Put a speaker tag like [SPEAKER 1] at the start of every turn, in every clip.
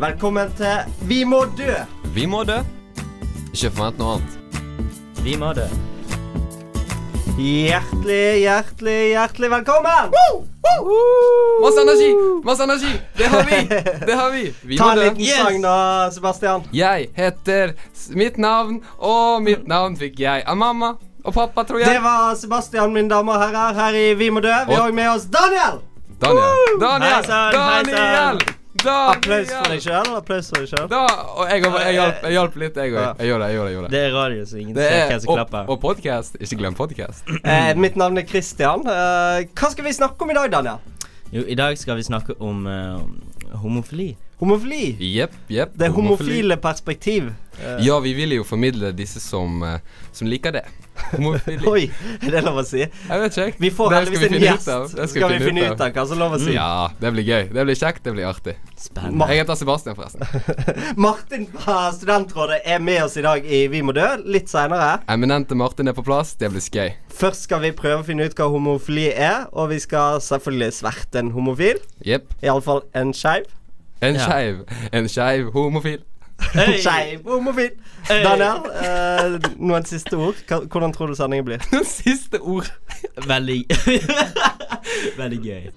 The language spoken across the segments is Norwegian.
[SPEAKER 1] Velkommen til Vi må dø!
[SPEAKER 2] Vi må dø. Ikke forvent noe annet.
[SPEAKER 3] Vi må dø.
[SPEAKER 1] Hjertelig, hjertelig, hjertelig velkommen!
[SPEAKER 2] Masse energi! Masse energi! Det har vi! Det har vi! Vi
[SPEAKER 1] Ta
[SPEAKER 2] må
[SPEAKER 1] en
[SPEAKER 2] dø.
[SPEAKER 1] liten sang da, Sebastian.
[SPEAKER 2] Jeg heter s- mitt navn, og mitt navn fikk jeg av mamma og pappa, tror
[SPEAKER 1] Det
[SPEAKER 2] jeg.
[SPEAKER 1] var Sebastian, mine damer og herrer, her i Vi må dø. Vi har
[SPEAKER 2] Og-
[SPEAKER 1] òg med oss Daniel.
[SPEAKER 2] Daniel.
[SPEAKER 3] Hei
[SPEAKER 2] Daniel!
[SPEAKER 3] sann, hei sann.
[SPEAKER 2] Daniel!
[SPEAKER 1] Applaus for deg
[SPEAKER 2] Daniel!
[SPEAKER 1] sjøl. Applaus for deg sjøl.
[SPEAKER 2] Da, og jeg, jeg, hjalp, jeg hjalp litt, jeg òg. Jeg gjorde det. jeg gjorde det, jeg gjorde det.
[SPEAKER 3] Det er radio, så ingen
[SPEAKER 2] Det
[SPEAKER 3] ser
[SPEAKER 2] er,
[SPEAKER 3] hvem som
[SPEAKER 2] og,
[SPEAKER 3] klapper.
[SPEAKER 2] og podkast. Ikke glem podkast.
[SPEAKER 1] Eh, mitt navn er Christian. Eh, hva skal vi snakke om i dag, Daniel?
[SPEAKER 3] Jo, I dag skal vi snakke om eh, homofili.
[SPEAKER 1] Homofili.
[SPEAKER 2] Jepp, jepp.
[SPEAKER 1] Det
[SPEAKER 2] homofili.
[SPEAKER 1] homofile perspektiv. Eh,
[SPEAKER 2] Ja, vi vil jo formidle disse som, eh, som liker det. Homofili.
[SPEAKER 1] Oi, er det lov å si?
[SPEAKER 2] Jeg vet ikke, jeg.
[SPEAKER 1] Vi får
[SPEAKER 2] Det
[SPEAKER 1] heldigvis en gjest. Skal, vi finne ut av hva som er lov å si?
[SPEAKER 2] Ja, det blir gøy. Det blir kjekt, det blir artig.
[SPEAKER 3] Spennende.
[SPEAKER 1] Ma-
[SPEAKER 2] Jeg heter Sebastian, forresten.
[SPEAKER 1] Martin fra Studentrådet er med oss i dag i Vi må dø litt seinere.
[SPEAKER 2] Eminente Martin er på plass. Det blir skøy.
[SPEAKER 1] Først skal vi prøve å finne ut hva homofili er, og vi skal selvfølgelig sverte en homofil.
[SPEAKER 2] Jepp.
[SPEAKER 1] Iallfall en skeiv.
[SPEAKER 2] En
[SPEAKER 3] Ja.
[SPEAKER 2] skeiv. En skeiv homofil.
[SPEAKER 3] Hey!
[SPEAKER 1] Skeiv homofil.
[SPEAKER 3] Hey!
[SPEAKER 1] Daniel, eh, noen siste ord? Hva- Hvordan tror du sendingen blir?
[SPEAKER 2] Siste ord.
[SPEAKER 3] Veldig Veldig gøy.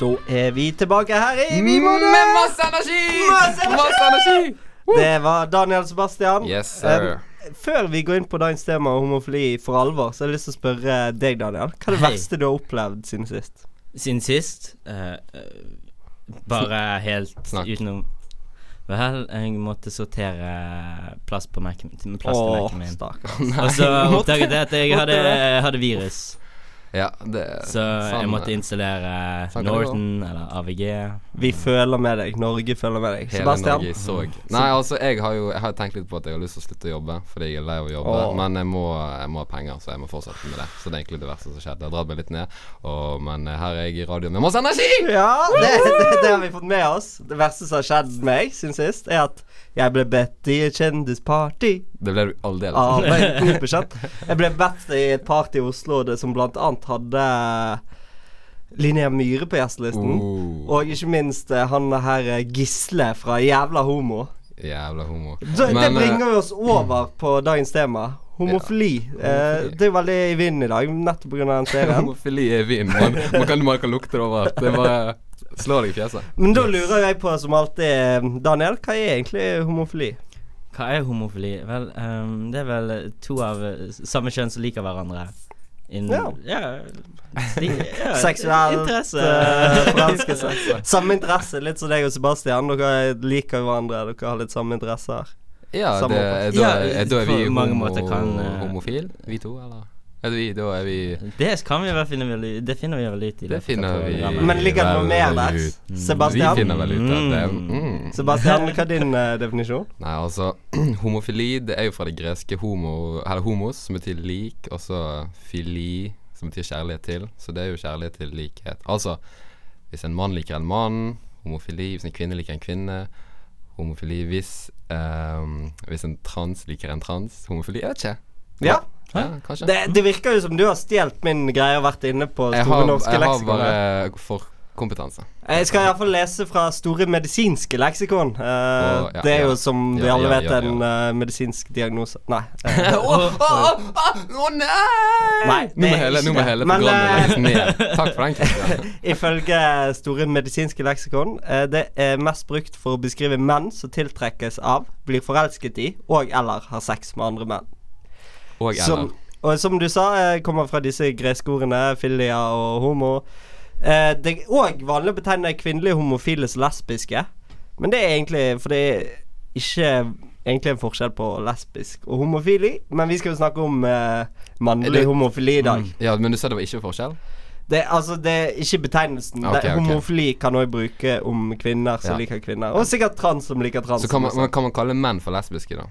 [SPEAKER 1] Da er vi tilbake her i Vi må dø!
[SPEAKER 2] Med masse energi!
[SPEAKER 1] Masse energi!
[SPEAKER 2] Masse energi! Woo!
[SPEAKER 1] Det var Daniel Sebastian.
[SPEAKER 2] Yes, sir.
[SPEAKER 1] Eh, før vi går inn på dagens tema og homofili for alvor, så har jeg lyst til å spørre deg, Daniel. Hva er det
[SPEAKER 3] Hei.
[SPEAKER 1] verste du har opplevd siden sist?
[SPEAKER 3] Siden sist eh, eh, Bare helt
[SPEAKER 2] Snakk.
[SPEAKER 3] utenom Vel, jeg måtte sortere plass på Mac-en min. Plass
[SPEAKER 1] Åh,
[SPEAKER 3] til Mac-en min.
[SPEAKER 1] stakkar.
[SPEAKER 2] Nei,
[SPEAKER 3] Og så
[SPEAKER 2] måtte-
[SPEAKER 3] oppdaget jeg at jeg
[SPEAKER 2] måtte
[SPEAKER 3] hadde,
[SPEAKER 2] det?
[SPEAKER 3] hadde virus.
[SPEAKER 2] Ja, det
[SPEAKER 3] Så jeg måtte installere
[SPEAKER 2] Sånn kan det gå.
[SPEAKER 3] Norton eller AVG.
[SPEAKER 1] Vi føler med deg. Norge føler med deg.
[SPEAKER 2] Hele
[SPEAKER 1] Sebastian.
[SPEAKER 2] Norge så Nei, altså, jeg har jo jeg har tenkt litt på at jeg har lyst til å slutte å jobbe, fordi jeg er lei av å jobbe.
[SPEAKER 1] Åh.
[SPEAKER 2] Men jeg må, jeg må ha penger, så jeg må fortsette med det. Så det er egentlig det verste som skjedde. Jeg har dratt meg litt ned, og, men eh, her er jeg i radioen med masse energi!
[SPEAKER 1] Ja, det, det, det har vi fått med oss. Det verste som har skjedd meg siden sist, er at jeg ble bedt i et kjendisparty
[SPEAKER 2] Det ble du aldeles.
[SPEAKER 1] av en ubekjent. Jeg ble bedt i et party i Oslo det som blant annet hadde Linnea Myhre på gjestelisten.
[SPEAKER 2] Oh,
[SPEAKER 1] Og ikke minst eh, han her eh, Gisle fra Jævla homo.
[SPEAKER 2] jævla homo.
[SPEAKER 1] Så, det
[SPEAKER 2] Men, eh,
[SPEAKER 1] bringer oss over på dagens tema. Homofili. Eh,
[SPEAKER 2] homofili.
[SPEAKER 1] det er jo veldig i vinden i dag, nettopp pga. den serien.
[SPEAKER 2] Homofili er vin. Man, man, kan, man kan lukte det overalt. Det bare slår deg i fjeset.
[SPEAKER 1] Men da lurer jeg på, som alltid, eh, Daniel, hva er egentlig homofili?
[SPEAKER 3] Hva er homofili? Vel, ehm, det er vel to av eh, samme kjønn som liker hverandre. Innen-
[SPEAKER 1] Ja.
[SPEAKER 3] ja, sli- ja,
[SPEAKER 1] Seksuelt
[SPEAKER 3] interesse.
[SPEAKER 1] eh, forelskelse. Samme interesse, litt som deg og Sebastian. Dere liker hverandre, dere har litt samme interesser.
[SPEAKER 2] Ja,
[SPEAKER 1] Samme
[SPEAKER 2] det,
[SPEAKER 1] oppfatning.
[SPEAKER 2] da,
[SPEAKER 3] Ja,
[SPEAKER 2] er, da er vi
[SPEAKER 3] på mange måter kan, eh,
[SPEAKER 2] homofil, vi to, eller? Er vi, da er vi
[SPEAKER 3] Det kan vi vel finne vel ut Det finner vi vel ut i.
[SPEAKER 2] Det
[SPEAKER 3] løpet av
[SPEAKER 2] finner vi
[SPEAKER 3] programmet.
[SPEAKER 1] Men ligger det noe mer
[SPEAKER 2] Vel,
[SPEAKER 1] der?
[SPEAKER 2] ut. Mm.
[SPEAKER 1] Sebastian?
[SPEAKER 2] Vi finner vel ut at det er mm.
[SPEAKER 1] Sebastian, hva er din eh, definisjon?
[SPEAKER 2] Nei, altså, homofili det er jo fra det greske homo, eller homos, som betyr lik, og så fili, som betyr kjærlighet til. Så det er jo kjærlighet til likhet. Altså, hvis en mann liker en mann, homofili hvis en kvinne liker en kvinne, homofili hvis ehm, Hvis en trans liker en trans, homofili Jeg vet ikke.
[SPEAKER 1] Ja,
[SPEAKER 2] Ja, kanskje.
[SPEAKER 1] det, det virker jo som du har stjålet min greie og vært inne på
[SPEAKER 2] jeg
[SPEAKER 1] Store
[SPEAKER 2] har,
[SPEAKER 1] norske
[SPEAKER 2] jeg har
[SPEAKER 1] leksikon.
[SPEAKER 2] bare
[SPEAKER 1] her.
[SPEAKER 2] forkompetanse.
[SPEAKER 1] Jeg skal iallfall lese fra Store medisinske leksikon. Eh,
[SPEAKER 2] Å, ja,
[SPEAKER 1] det er jo
[SPEAKER 2] ja.
[SPEAKER 1] som vi
[SPEAKER 2] Ja,
[SPEAKER 1] alle
[SPEAKER 2] ja,
[SPEAKER 1] vet,
[SPEAKER 2] ja,
[SPEAKER 1] en eh, medisinsk diagnose. Nei.
[SPEAKER 2] Å
[SPEAKER 1] eh,
[SPEAKER 2] nei!
[SPEAKER 1] Nei, det
[SPEAKER 2] Nå må
[SPEAKER 1] er
[SPEAKER 2] hele,
[SPEAKER 1] ikke
[SPEAKER 2] nå må
[SPEAKER 1] det.
[SPEAKER 2] hele
[SPEAKER 1] Men, eh,
[SPEAKER 2] programmet legges ned. Takk for den kritikken.
[SPEAKER 1] Ifølge Store medisinske leksikon eh, Det er mest brukt for å beskrive menn som tiltrekkes av, blir forelsket i og eller har sex med andre menn.
[SPEAKER 2] Og Ellen.
[SPEAKER 1] Som, og som du sa, eh, kommer fra disse greske ordene filia og homo. Eh, det er òg vanlig å betegne kvinnelige homofile som lesbiske. Men det er egentlig For det er ikke egentlig en forskjell på lesbisk og homofili. Men vi skal jo snakke om eh, mannlig
[SPEAKER 2] Er det- Mm.
[SPEAKER 1] homofili i dag.
[SPEAKER 2] Ja, men du sa det var ikke forskjell?
[SPEAKER 1] Det, altså, det er ikke betegnelsen.
[SPEAKER 2] Ok,
[SPEAKER 1] det,
[SPEAKER 2] ok.
[SPEAKER 1] homofili kan òg bruke om kvinner som
[SPEAKER 2] Ja.
[SPEAKER 1] liker kvinner. Og sikkert trans som liker trans.
[SPEAKER 2] Så kan man,
[SPEAKER 1] også.
[SPEAKER 2] man, kan man kalle menn for lesbiske, da?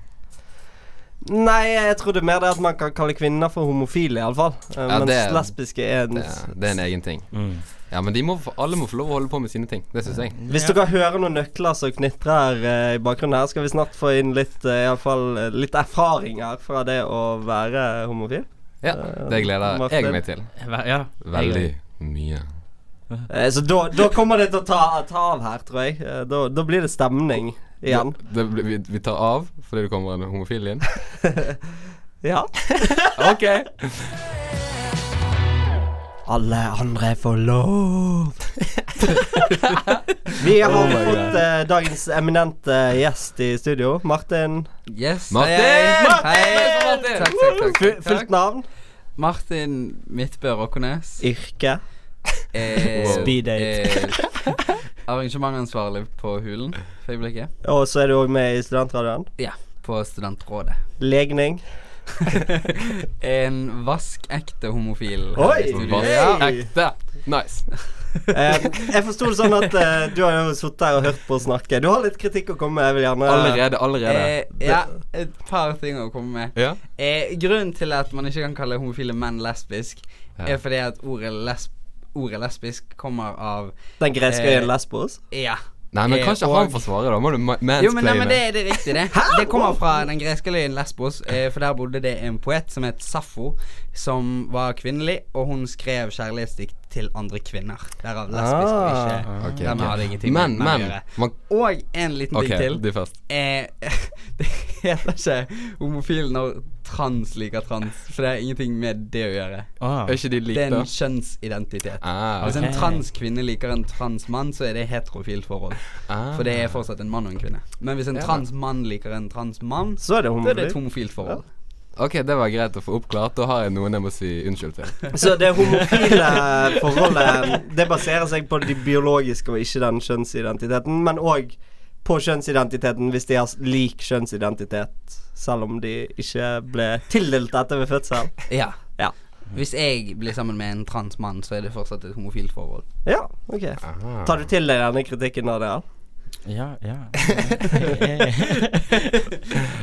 [SPEAKER 1] Nei, jeg trodde mer det at man kan kalle kvinner for homofile, iallfall. Ja,
[SPEAKER 2] Ja,
[SPEAKER 1] Eh, mens
[SPEAKER 2] det er-
[SPEAKER 1] lesbiske er en
[SPEAKER 2] Det, det er en egen ting.
[SPEAKER 3] Mm.
[SPEAKER 2] Ja, men de må, få- alle må få lov å holde på med sine ting. Det syns jeg.
[SPEAKER 1] Hvis dere hører noen nøkler som knitrer eh, i bakgrunnen her, skal vi snart få inn litt, eh, i alle fall, eh, litt erfaringer fra det å være homofil.
[SPEAKER 2] Ja, Det gleder jeg meg til.
[SPEAKER 3] Hva- Ja.
[SPEAKER 2] Veldig mye.
[SPEAKER 1] Eh, Så da, da kommer det til å ta, ta av her, tror jeg. Eh, Da, da blir det stemning igjen.
[SPEAKER 2] Det, blir- vi, vi tar av fordi det kommer en homofil inn.
[SPEAKER 1] Ja.
[SPEAKER 2] OK!
[SPEAKER 1] Alle andre får lov. Vi har
[SPEAKER 3] Oh my
[SPEAKER 1] fått
[SPEAKER 3] God.
[SPEAKER 1] eh, dagens eminente eh, gjest i studio. Martin.
[SPEAKER 4] Yes.
[SPEAKER 2] Martin!
[SPEAKER 4] Hei, hei.
[SPEAKER 2] Hei,
[SPEAKER 4] Hei.
[SPEAKER 2] Martin!
[SPEAKER 4] Takk, takk, takk.
[SPEAKER 1] Fu-
[SPEAKER 4] takk,
[SPEAKER 1] Fullt
[SPEAKER 4] takk.
[SPEAKER 1] navn.
[SPEAKER 4] Martin Midtbø Råkånes.
[SPEAKER 1] Yrke.
[SPEAKER 4] eh,
[SPEAKER 2] Wow.
[SPEAKER 3] Speed date.
[SPEAKER 4] eh, Arrangementansvarlig på Hulen for øyeblikket.
[SPEAKER 1] Og så er du òg med i Studentradioen.
[SPEAKER 4] Ja, på Studentrådet.
[SPEAKER 1] Legning.
[SPEAKER 4] En vaskekte homofil. her
[SPEAKER 1] Oi!
[SPEAKER 4] i studio.
[SPEAKER 1] Hey!
[SPEAKER 2] Ja, ekte. Nice.
[SPEAKER 1] Eh, jeg forsto det sånn at eh, du har jo sittet her og hørt på å snakke. Du har litt kritikk å komme med. Jeg vil gjerne
[SPEAKER 2] Allerede, allerede.
[SPEAKER 4] Eh, ja, et par ting å komme med.
[SPEAKER 2] Ja.
[SPEAKER 4] Eh, grunnen til at man ikke kan kalle homofile menn lesbisk,
[SPEAKER 2] Ja.
[SPEAKER 4] er fordi at ordet, lesb ordet lesbisk kommer av
[SPEAKER 1] Den greske
[SPEAKER 4] Eh,
[SPEAKER 1] øyen Lesbos.
[SPEAKER 4] Ja.
[SPEAKER 2] Nei, men
[SPEAKER 4] Eh,
[SPEAKER 2] kan ikke
[SPEAKER 4] og-
[SPEAKER 2] han få svare, da? Må du ma-
[SPEAKER 4] Jo, men, nei, men det,
[SPEAKER 2] mansplaine?
[SPEAKER 4] er- det er riktig, det. Det kommer fra den greske løyen Lesbos, eh, for der bodde det en poet som het Saffo, som var kvinnelig, og hun skrev kjærlighetsdikt til andre kvinner. Derav lesbisk og
[SPEAKER 1] Ah.
[SPEAKER 4] ikke.
[SPEAKER 2] Ok,
[SPEAKER 4] Dermed
[SPEAKER 2] ok.
[SPEAKER 4] har det ingenting
[SPEAKER 2] Men,
[SPEAKER 4] med
[SPEAKER 2] men
[SPEAKER 4] menn å gjøre.
[SPEAKER 2] man,
[SPEAKER 4] Og en liten
[SPEAKER 2] OK,
[SPEAKER 4] ting til.
[SPEAKER 2] du først.
[SPEAKER 4] Eh, det heter ikke homofil når trans liker trans, for det har ingenting med det å gjøre.
[SPEAKER 3] Ah.
[SPEAKER 2] Er ikke de
[SPEAKER 4] Det
[SPEAKER 2] like,
[SPEAKER 4] er
[SPEAKER 2] da?
[SPEAKER 4] en kjønnsidentitet.
[SPEAKER 2] Ah,
[SPEAKER 4] Hvis en
[SPEAKER 3] ok.
[SPEAKER 4] trans kvinne liker en trans mann, så er det heterofilt forhold.
[SPEAKER 2] ah.
[SPEAKER 4] For det er fortsatt en mann og en kvinne. Men hvis en
[SPEAKER 2] Ja.
[SPEAKER 4] trans mann liker en trans mann,
[SPEAKER 1] Så er det
[SPEAKER 4] da er det et
[SPEAKER 1] homofilt.
[SPEAKER 4] homofilt forhold.
[SPEAKER 2] Ok, det var greit å få oppklart. Da har jeg noen jeg må si unnskyld til.
[SPEAKER 1] Så det homofile forholdet Det baserer seg på de biologiske og ikke den kjønnsidentiteten, men òg på kjønnsidentiteten hvis de har lik kjønnsidentitet, selv om de ikke ble tildelt dette ved fødsel.
[SPEAKER 4] Ja.
[SPEAKER 1] Ja.
[SPEAKER 4] Hvis jeg blir sammen med en trans mann, så er det fortsatt et homofilt forhold.
[SPEAKER 1] Ja, ok. Tar du til deg denne kritikken, Adrian?
[SPEAKER 3] Ja, ja.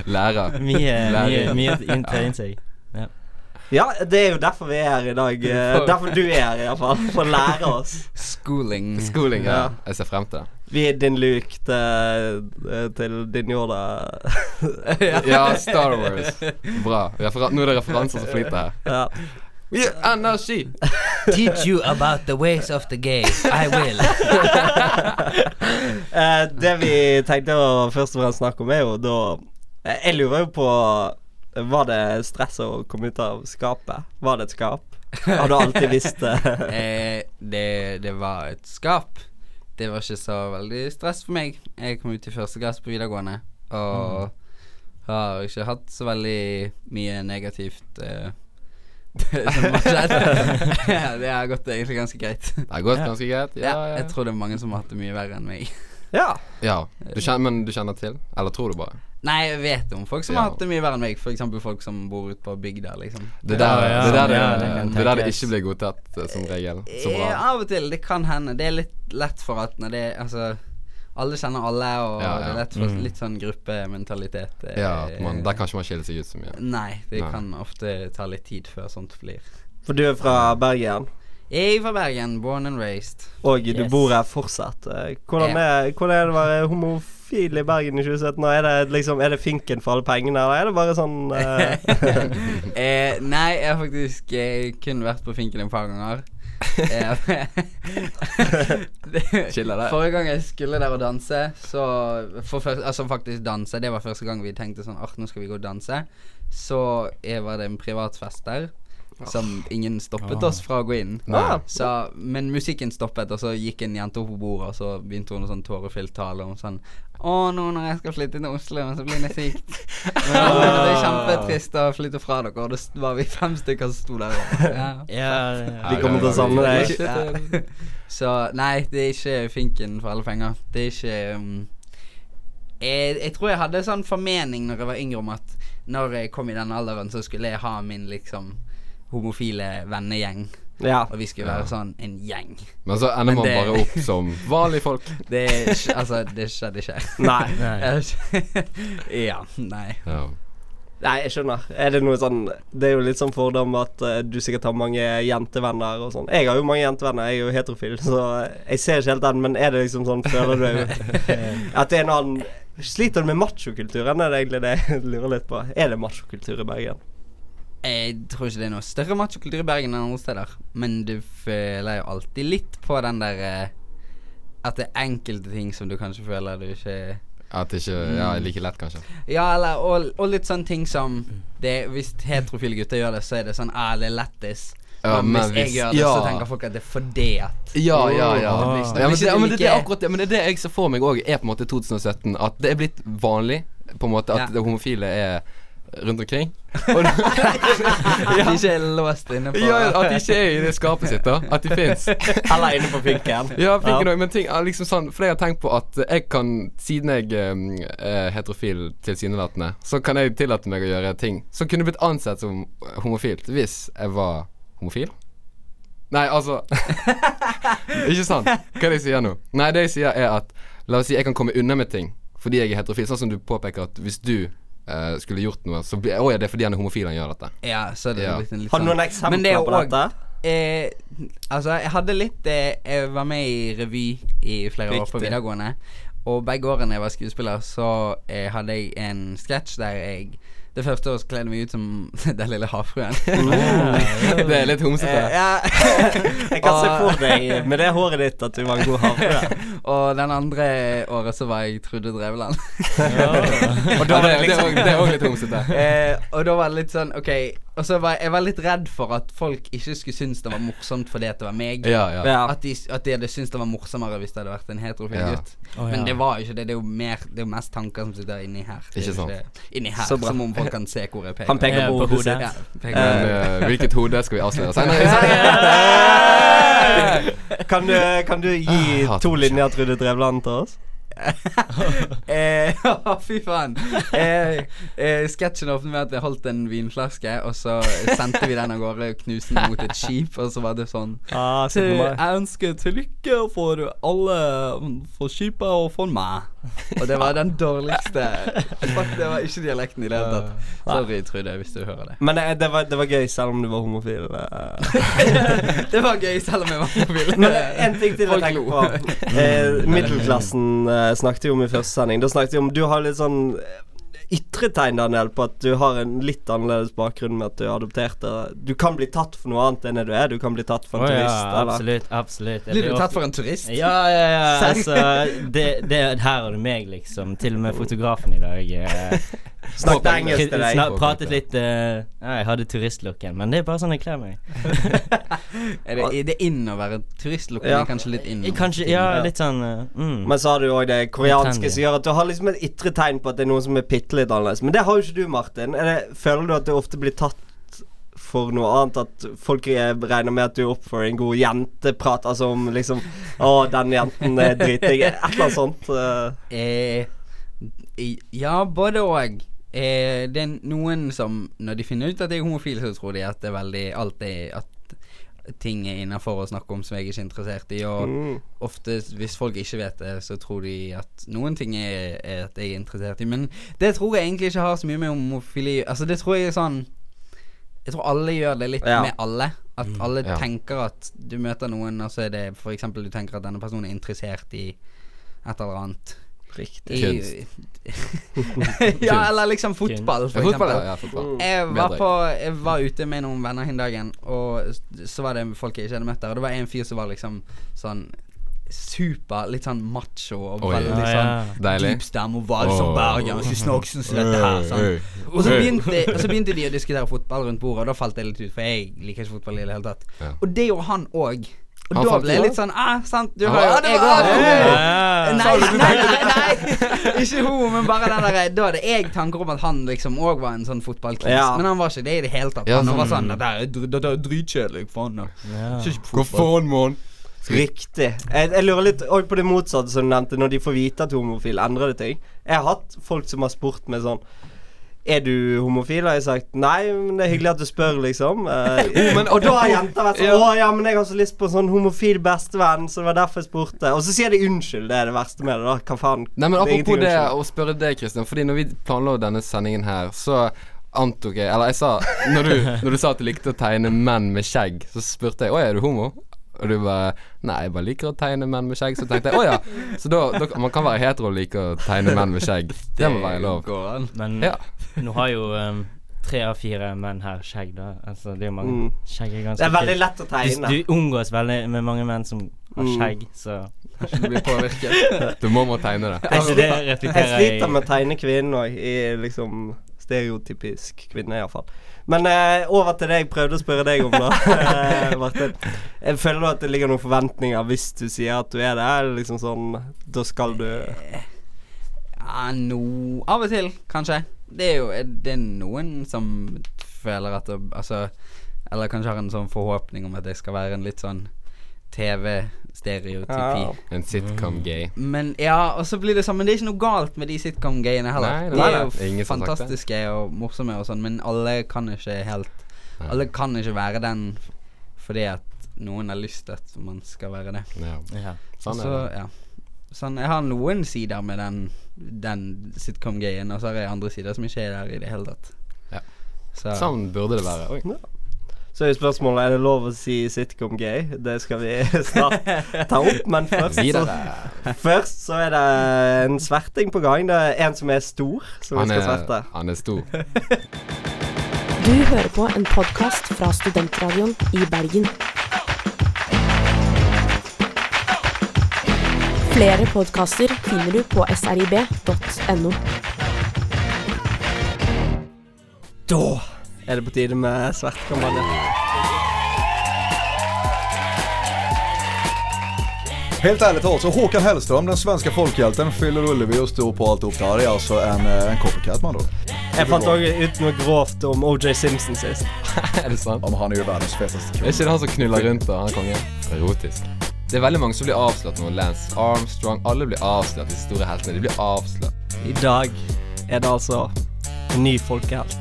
[SPEAKER 2] Lærer.
[SPEAKER 3] mye mye,
[SPEAKER 2] Lærer.
[SPEAKER 3] mye inntil seg. Ja.
[SPEAKER 1] Ja, det er jo derfor vi er her i dag. eh, Derfor du er her, iallfall. For å lære oss.
[SPEAKER 4] Schooling.
[SPEAKER 2] Skoling, ja.
[SPEAKER 1] Ja.
[SPEAKER 2] Jeg ser frem til.
[SPEAKER 1] Vi er din Luke til, til din Yoda.
[SPEAKER 2] Ja, Star Wars. Bra. Refera Nå er det referanser som flyter her.
[SPEAKER 1] Ja.
[SPEAKER 2] Mye energi!
[SPEAKER 4] Teach you about the ways of the gay. I will.
[SPEAKER 1] Eh, det vi tenkte å først og fremst snakke om, er jo da eh, Jeg lurer jo på Var det stress å komme ut av skapet? Var det et skap? Har du alltid visst det?
[SPEAKER 4] eh, det, det var et skap. Det var ikke så veldig stress for meg. Jeg kom ut i første klasse på videregående
[SPEAKER 2] Mm.
[SPEAKER 4] og har ikke hatt så veldig mye negativt eh, som har skjedd. det har gått egentlig ganske greit.
[SPEAKER 2] Det har gått ganske greit.
[SPEAKER 4] Ja,
[SPEAKER 2] Ja, ja.
[SPEAKER 4] jeg tror det er mange som har hatt det mye verre enn meg.
[SPEAKER 1] Ja.
[SPEAKER 2] ja. Du kjenner, men du kjenner til? Eller tror du bare?
[SPEAKER 4] Nei, jeg vet om folk som
[SPEAKER 2] Ja.
[SPEAKER 4] har hatt det mye verre enn meg. F.eks. folk som bor ute på bygda, liksom.
[SPEAKER 2] Det er der,
[SPEAKER 3] Ja, ja.
[SPEAKER 2] det, er der,
[SPEAKER 3] Ja,
[SPEAKER 2] det,
[SPEAKER 3] det kan
[SPEAKER 2] det, er der det
[SPEAKER 3] tenkes.
[SPEAKER 2] ikke blir godtatt eh, som regel. Så
[SPEAKER 4] Eh,
[SPEAKER 2] bra.
[SPEAKER 4] Av og til. Det kan hende. Det er litt lett for at når det Altså, alle kjenner alle, og
[SPEAKER 2] Ja, ja.
[SPEAKER 4] det er lett for litt sånn gruppementalitet. eh,
[SPEAKER 2] Ja, at man, Der kan ikke man skille seg ut så mye.
[SPEAKER 4] Nei, det
[SPEAKER 2] Nei.
[SPEAKER 4] kan ofte ta litt tid før sånt blir.
[SPEAKER 1] For du er fra Bergen,
[SPEAKER 4] Jeg er fra Bergen, born and raised.
[SPEAKER 1] og du
[SPEAKER 3] Yes.
[SPEAKER 1] bor her fortsatt. Eh, Hvordan er, hvordan er det å være homofil i Bergen i 2017? Og Er det liksom Er det finken for alle pengene, eller er det bare sånn eh,
[SPEAKER 4] eh, nei, jeg har faktisk eh, kun vært på finken et par ganger. Eh, det-
[SPEAKER 2] Chiller der.
[SPEAKER 4] Forrige gang jeg skulle der og danse, så for først, Altså faktisk danse, det var første gang vi tenkte sånn Art, nå skal vi gå og danse. Så eh, var det en privatfest der. Som ingen stoppet
[SPEAKER 3] Ah.
[SPEAKER 4] oss fra å gå inn.
[SPEAKER 2] Nei.
[SPEAKER 4] Så, men musikken stoppet, og så gikk en jente opp på bordet, og så begynte hun en sånn tårefylt tale om sånn Å, nå når jeg skal flytte til Oslo, så blir det sykt. Men alle mener det er kjempetrist å flytte fra dere, og det s- var vi fem stykker som sto der. og- Ja.
[SPEAKER 3] Ja,
[SPEAKER 1] Vi kommer til å savne deg.
[SPEAKER 4] Ja. Så nei, det er ikke finken for alle penger. Det er ikke um, jeg, jeg tror jeg hadde sånn formening når jeg var yngre om at når jeg kom i den alderen, så skulle jeg ha min liksom homofile vennegjeng.
[SPEAKER 1] Ja.
[SPEAKER 4] Og vi skulle
[SPEAKER 2] Ja.
[SPEAKER 4] være sånn en gjeng.
[SPEAKER 2] Men så ender
[SPEAKER 4] Men
[SPEAKER 2] man
[SPEAKER 4] det-
[SPEAKER 2] bare opp som vanlige folk.
[SPEAKER 4] Det er ikke- Altså, det skjedde ikke.
[SPEAKER 1] Nei.
[SPEAKER 3] Nei.
[SPEAKER 4] ja. Nei.
[SPEAKER 2] Ja.
[SPEAKER 1] Nei, jeg skjønner. Er det noe sånn Det er jo litt sånn fordom at eh, du sikkert har mange jentevenner og sånn. Jeg har jo mange jentevenner, jeg er jo heterofil, så jeg ser ikke helt den, men er det liksom sånn Føler du at det er en annen Sliter du med machokulturen? Er det egentlig det jeg lurer litt på? Er det machokultur i Bergen?
[SPEAKER 4] Jeg tror ikke det er noe større machokultur i Bergen enn andre steder. Men du føler jo alltid litt på den der eh, At det er enkelte ting som du kanskje føler du ikke
[SPEAKER 2] At det ikke Ja, like lett, kanskje.
[SPEAKER 4] Ja, eller, og, og litt sånne ting som det, Hvis heterofile gutter gjør det, så er det sånn ah, det er lættis.
[SPEAKER 2] Ja,
[SPEAKER 4] men
[SPEAKER 2] men
[SPEAKER 4] hvis jeg
[SPEAKER 2] hvis-
[SPEAKER 4] gjør det,
[SPEAKER 2] ja.
[SPEAKER 4] så tenker folk at det er fordi at
[SPEAKER 2] Ja, ja, ja.
[SPEAKER 3] Åh.
[SPEAKER 2] Det blir ikke- ja men, det, ja, men det, det er akkurat det. Men det er det jeg ser for meg òg, er på en måte 2017. At det er blitt vanlig på en måte at
[SPEAKER 4] Ja.
[SPEAKER 2] det homofile er rundt omkring. Og da,
[SPEAKER 4] At de ikke er låst inne på
[SPEAKER 2] ja, at de ikke er i det skapet sitt, da. At de fins.
[SPEAKER 1] Eller inne på finken.
[SPEAKER 2] Ja, fikk jeg nok, men ting er liksom sånn For jeg har tenkt på at jeg kan, siden jeg eh, er heterofil tilsynelatende, så kan jeg tillate meg å gjøre ting som kunne blitt ansett som homofilt hvis jeg var homofil. Nei, altså Ikke sant? Hva er det jeg sier nå? Nei, det jeg sier er at La oss si jeg kan komme unna med ting fordi jeg er heterofil. Sånn som du påpeker at hvis du eh, skulle gjort noe, så blir Å ja, det er fordi han er homofil han gjør dette.
[SPEAKER 4] Ja, så er det
[SPEAKER 2] Ja.
[SPEAKER 4] blitt en litt
[SPEAKER 1] Har du
[SPEAKER 4] sånn-
[SPEAKER 1] noen
[SPEAKER 4] Men det er
[SPEAKER 1] eksempler
[SPEAKER 4] jo
[SPEAKER 1] på
[SPEAKER 4] også-
[SPEAKER 1] dette?
[SPEAKER 4] Eh, altså, jeg hadde litt eh, Jeg var med i revy i flere år på
[SPEAKER 1] Riktig.
[SPEAKER 4] videregående. Og begge årene jeg var skuespiller, så eh, hadde jeg en sketsj der jeg Det første året så kledde jeg meg ut som den lille havfruen.
[SPEAKER 2] det er litt
[SPEAKER 1] Eh,
[SPEAKER 2] homsete.
[SPEAKER 1] ja. Jeg kan se for
[SPEAKER 4] Og-
[SPEAKER 1] deg med det håret ditt at du var en god havfrue.
[SPEAKER 4] og den andre året så var jeg Trude Drevland.
[SPEAKER 2] Og da er det- det er også- det er òg litt homsete.
[SPEAKER 4] eh, og da var det litt sånn OK Og så var jeg- jeg var litt redd for at folk ikke skulle synes det var morsomt fordi at det var meg.
[SPEAKER 2] Ja, ja.
[SPEAKER 1] Ja.
[SPEAKER 4] At, de, at de hadde syntes det var morsommere hvis det hadde vært en heterofil
[SPEAKER 2] Ja.
[SPEAKER 4] gutt.
[SPEAKER 3] Å, ja.
[SPEAKER 4] Men det var jo ikke det. Det er jo, mer, det er jo mest tanker som sitter inni her. Det er
[SPEAKER 2] Ikke
[SPEAKER 4] jo
[SPEAKER 2] sant.
[SPEAKER 4] Inni her,
[SPEAKER 1] Så bra.
[SPEAKER 4] Som om folk kan se hvor jeg peker. Eh,
[SPEAKER 1] Han peker
[SPEAKER 3] Ja,
[SPEAKER 1] på
[SPEAKER 3] på
[SPEAKER 1] hodet
[SPEAKER 3] hodet.
[SPEAKER 1] sitt.
[SPEAKER 4] Ja, peker.
[SPEAKER 2] Men eh, hvilket hode skal vi avsløre senere?
[SPEAKER 1] Eh. Kan du, kan du gi
[SPEAKER 2] Ah, hater
[SPEAKER 1] to
[SPEAKER 2] meg
[SPEAKER 1] linjer Trude Drevland til oss?
[SPEAKER 4] Eh, å, fy faen. Eh, eh, sketsjen åpnet med at vi holdt en vinflaske, og så sendte vi den av gårde og knuste den mot et skip, og så var det sånn
[SPEAKER 1] Ah,
[SPEAKER 4] til,
[SPEAKER 2] eh,
[SPEAKER 1] sitter meg.
[SPEAKER 4] Jeg ønsker til lykke for alle For skipet og for meg. Og det var den dårligste Fuck, det var ikke dialekten i det hele tatt. Sorry, Trude, hvis du hører det.
[SPEAKER 1] Men eh, det var, det var gøy, selv om du var homofil. eh.
[SPEAKER 4] Det var gøy, selv om jeg var mobil.
[SPEAKER 1] Men en ting til jeg
[SPEAKER 4] Folk
[SPEAKER 1] tenker
[SPEAKER 4] lo.
[SPEAKER 1] på. Eh, middelklassen eh, snakket vi om i første sending. Da snakket vi om Du har litt sånn eh, ytre tegn, Daniel, på at du har en litt annerledes bakgrunn med at du er adoptert. og Du kan bli tatt for noe annet enn det du er. Du kan bli tatt for en
[SPEAKER 3] Å ja,
[SPEAKER 1] turist. eller?
[SPEAKER 3] absolutt, absolutt. Jeg
[SPEAKER 4] Blir du
[SPEAKER 3] blir
[SPEAKER 4] tatt for en turist?
[SPEAKER 3] Ja, ja, ja.
[SPEAKER 4] Serr?
[SPEAKER 3] Altså, det, det, her har du meg, liksom. Til og med fotografen i dag. eh,
[SPEAKER 1] Snakket engelsk til deg.
[SPEAKER 3] snak- pratet litt eh, ja, Jeg hadde turistlooken, men det er bare sånn jeg kler meg.
[SPEAKER 4] Er det, er det inn å være turistlokal?
[SPEAKER 1] Ja.
[SPEAKER 4] Ja. Kanskje litt inn?
[SPEAKER 3] Kanskje Ja, litt sånn eh, mm.
[SPEAKER 1] Men så har du òg det koreanske
[SPEAKER 3] Trendy.
[SPEAKER 1] som gjør at du har liksom et ytre tegn på at det er noe som er bitte litt annerledes. Men det har jo ikke du, Martin. Er det, føler du at du ofte blir tatt for noe annet? At folk eh, regner med at du er opp for en god jenteprat? Altså om liksom Å, den jenten er dritdigg. Et eller annet sånt. eh.
[SPEAKER 4] Eh, i- ja, både òg. Eh, det er noen som, når de finner ut at jeg er homofil, så tror de at det er veldig alt er, at ting er innafor å snakke om som jeg er ikke er interessert i. Og
[SPEAKER 1] Mm.
[SPEAKER 4] ofte, hvis folk ikke vet det, så tror de at noen ting er, er at jeg er interessert i. Men det tror jeg egentlig ikke har så mye med homofili Altså, det tror jeg er sånn Jeg tror alle gjør det litt
[SPEAKER 1] Ja.
[SPEAKER 4] med alle. At alle
[SPEAKER 2] ja.
[SPEAKER 4] tenker at du møter noen, og så er det f.eks. du tenker at denne personen er interessert i et eller annet.
[SPEAKER 1] Riktig.
[SPEAKER 4] I,
[SPEAKER 2] Kunst.
[SPEAKER 4] ja, eller liksom fotball, for
[SPEAKER 2] Ja, fotball,
[SPEAKER 4] eksempel.
[SPEAKER 2] ja, ja, fotball.
[SPEAKER 4] Jeg
[SPEAKER 2] Bedre.
[SPEAKER 4] var, på, jeg var ute med noen venner den dagen, og s- så var det folk jeg ikke hadde møtt der. Og det var en fyr som var liksom sånn super, litt sånn macho og
[SPEAKER 2] Oi.
[SPEAKER 4] veldig
[SPEAKER 3] Ah, Ja, ja.
[SPEAKER 4] sånn
[SPEAKER 2] Deilig.
[SPEAKER 4] dyp stemme og var som
[SPEAKER 2] Åh.
[SPEAKER 4] Bergen. Og snakke sånn som dette her. Sånn.
[SPEAKER 2] Øy, øy.
[SPEAKER 4] Og så
[SPEAKER 2] Øy.
[SPEAKER 4] begynte, og så begynte de å diskutere fotball rundt bordet, og da falt jeg litt ut, for jeg liker ikke fotball i det hele tatt.
[SPEAKER 2] Ja.
[SPEAKER 4] Og det gjorde han òg. Og
[SPEAKER 2] Han
[SPEAKER 4] da
[SPEAKER 2] falt
[SPEAKER 4] ble jeg
[SPEAKER 2] ut?
[SPEAKER 4] litt sånn ah, sant, du
[SPEAKER 2] Ja.
[SPEAKER 4] har jo
[SPEAKER 2] Ja, det
[SPEAKER 4] jeg
[SPEAKER 2] var-
[SPEAKER 4] også-
[SPEAKER 2] Ja,
[SPEAKER 3] ja, ja.
[SPEAKER 1] Eh,
[SPEAKER 4] Nei, nei, nei, nei, ikke homo, men bare den der Da hadde jeg tanker om at han liksom òg var en sånn fotballkris,
[SPEAKER 1] Ja.
[SPEAKER 4] men han var ikke det i det hele tatt.
[SPEAKER 2] Ja,
[SPEAKER 4] han var
[SPEAKER 2] sånn-
[SPEAKER 4] sånn Det der er dr- det der er dritkjedelig, faen. da."
[SPEAKER 3] Ja.
[SPEAKER 4] Ikke på
[SPEAKER 2] Hva
[SPEAKER 4] fotball.
[SPEAKER 2] faen, mann?
[SPEAKER 1] Riktig. Jeg, jeg lurer litt også på det motsatte som du nevnte, når de får vite at du er homofil. Endrer det ting? Jeg har hatt folk som har spurt meg sånn er du homofil? Har jeg sagt nei, men det er hyggelig at du spør, liksom. Eh,
[SPEAKER 2] men-
[SPEAKER 1] og da har jenta vært sånn
[SPEAKER 2] Ja.
[SPEAKER 1] Å ja, men jeg har så lyst på sånn homofil bestevenn, så det var derfor jeg spurte. Og så sier de unnskyld, det er det verste med det, da. Hva faen?
[SPEAKER 2] Nei, men
[SPEAKER 1] er ingenting
[SPEAKER 2] Apropos det
[SPEAKER 1] unnskyld.
[SPEAKER 2] å spørre deg, Kristian. Fordi når vi planla denne sendingen her, så antok jeg Eller jeg sa Når du, når du sa at du likte å tegne menn med skjegg, så spurte jeg Å, er du homo? Og du bare Nei, jeg bare liker å tegne menn med skjegg. Så tenkte jeg å ja. Så da, da Man kan være hetero og like å tegne menn med skjegg. Det må være lov.
[SPEAKER 4] går an.
[SPEAKER 3] Men
[SPEAKER 2] Ja.
[SPEAKER 3] nå har jo um, tre av fire menn her skjegg, da. Altså, det er jo mange
[SPEAKER 1] Mm.
[SPEAKER 3] Skjegg er ganske
[SPEAKER 1] Det er veldig
[SPEAKER 3] kult.
[SPEAKER 1] lett å tegne.
[SPEAKER 3] Du, du omgås veldig med mange menn som har
[SPEAKER 1] Mm.
[SPEAKER 3] skjegg, så
[SPEAKER 4] Kanskje du blir påvirket.
[SPEAKER 2] Du må må tegne det.
[SPEAKER 3] Kanskje det
[SPEAKER 1] Altså, Jeg
[SPEAKER 3] reflekterer
[SPEAKER 1] sliter med å tegne kvinnen òg, i liksom stereotypisk kvinne, iallfall. Men eh, over til det jeg prøvde å spørre deg om, da, eh, Martin. Jeg føler du at det ligger noen forventninger hvis du sier at du er det? Er det liksom sånn Da skal du
[SPEAKER 4] Ja, no Av og til, kanskje. Det er jo det er noen som føler at det, Altså Eller kanskje har en sånn forhåpning om at jeg skal være en litt sånn TV-stereotypi.
[SPEAKER 1] Ja.
[SPEAKER 2] En sitcom-gay.
[SPEAKER 4] Men ja, og så blir det sånn Men det er ikke noe galt med de sitcom-greiene
[SPEAKER 2] Nei, nei,
[SPEAKER 4] heller.
[SPEAKER 2] nei.
[SPEAKER 4] de er
[SPEAKER 2] Ingen som har sagt
[SPEAKER 4] jo
[SPEAKER 2] det.
[SPEAKER 4] fantastiske og morsomme og sånn, men alle kan ikke helt
[SPEAKER 2] Nei.
[SPEAKER 4] Alle kan ikke være den f- fordi at noen har lyst til at man skal være det.
[SPEAKER 2] Ja.
[SPEAKER 3] Ja.
[SPEAKER 2] Sånn
[SPEAKER 4] så,
[SPEAKER 2] er det.
[SPEAKER 4] ja. Sånn, jeg har noen sider med den, den sitcom-greien, og så har jeg andre sider som ikke er der i det hele tatt.
[SPEAKER 2] Ja.
[SPEAKER 4] Så
[SPEAKER 2] Sånn burde det være. Oi.
[SPEAKER 1] Så er jo spørsmålet er det lov å si sitcom gay. Det skal vi snart ta opp, men først så,
[SPEAKER 2] Videre.
[SPEAKER 1] først så er det en sverting på gang. Det er en som er stor, som vi
[SPEAKER 2] Han
[SPEAKER 1] skal
[SPEAKER 2] er,
[SPEAKER 1] sverte.
[SPEAKER 2] han er stor.
[SPEAKER 5] Du hører på en podkast fra Studentradioen i Bergen. Flere podkaster finner du på srib.no.
[SPEAKER 1] Da er det på tide med svertkampanje.
[SPEAKER 6] Helt ärligt talat, så Håkan Hellström, den svenska folkhjälten, fyller Ullevi och står på alltihop. Det här är alltså en, eh, en copycat man då.
[SPEAKER 1] Jeg fant òg ut noe grovt om OJ Simpson sist.
[SPEAKER 2] Er det sant?
[SPEAKER 6] Ja, men han är ju världens fetaste
[SPEAKER 2] Er
[SPEAKER 6] kille.
[SPEAKER 2] ikke det han som knuller rundt og han er kongen? Erotisk. Det er veldig mange som blir avslørt nå. Lance Armstrong. Alle blir avslørt, de store heltene. De blir avslørt.
[SPEAKER 1] I dag er det altså en ny folkehelt.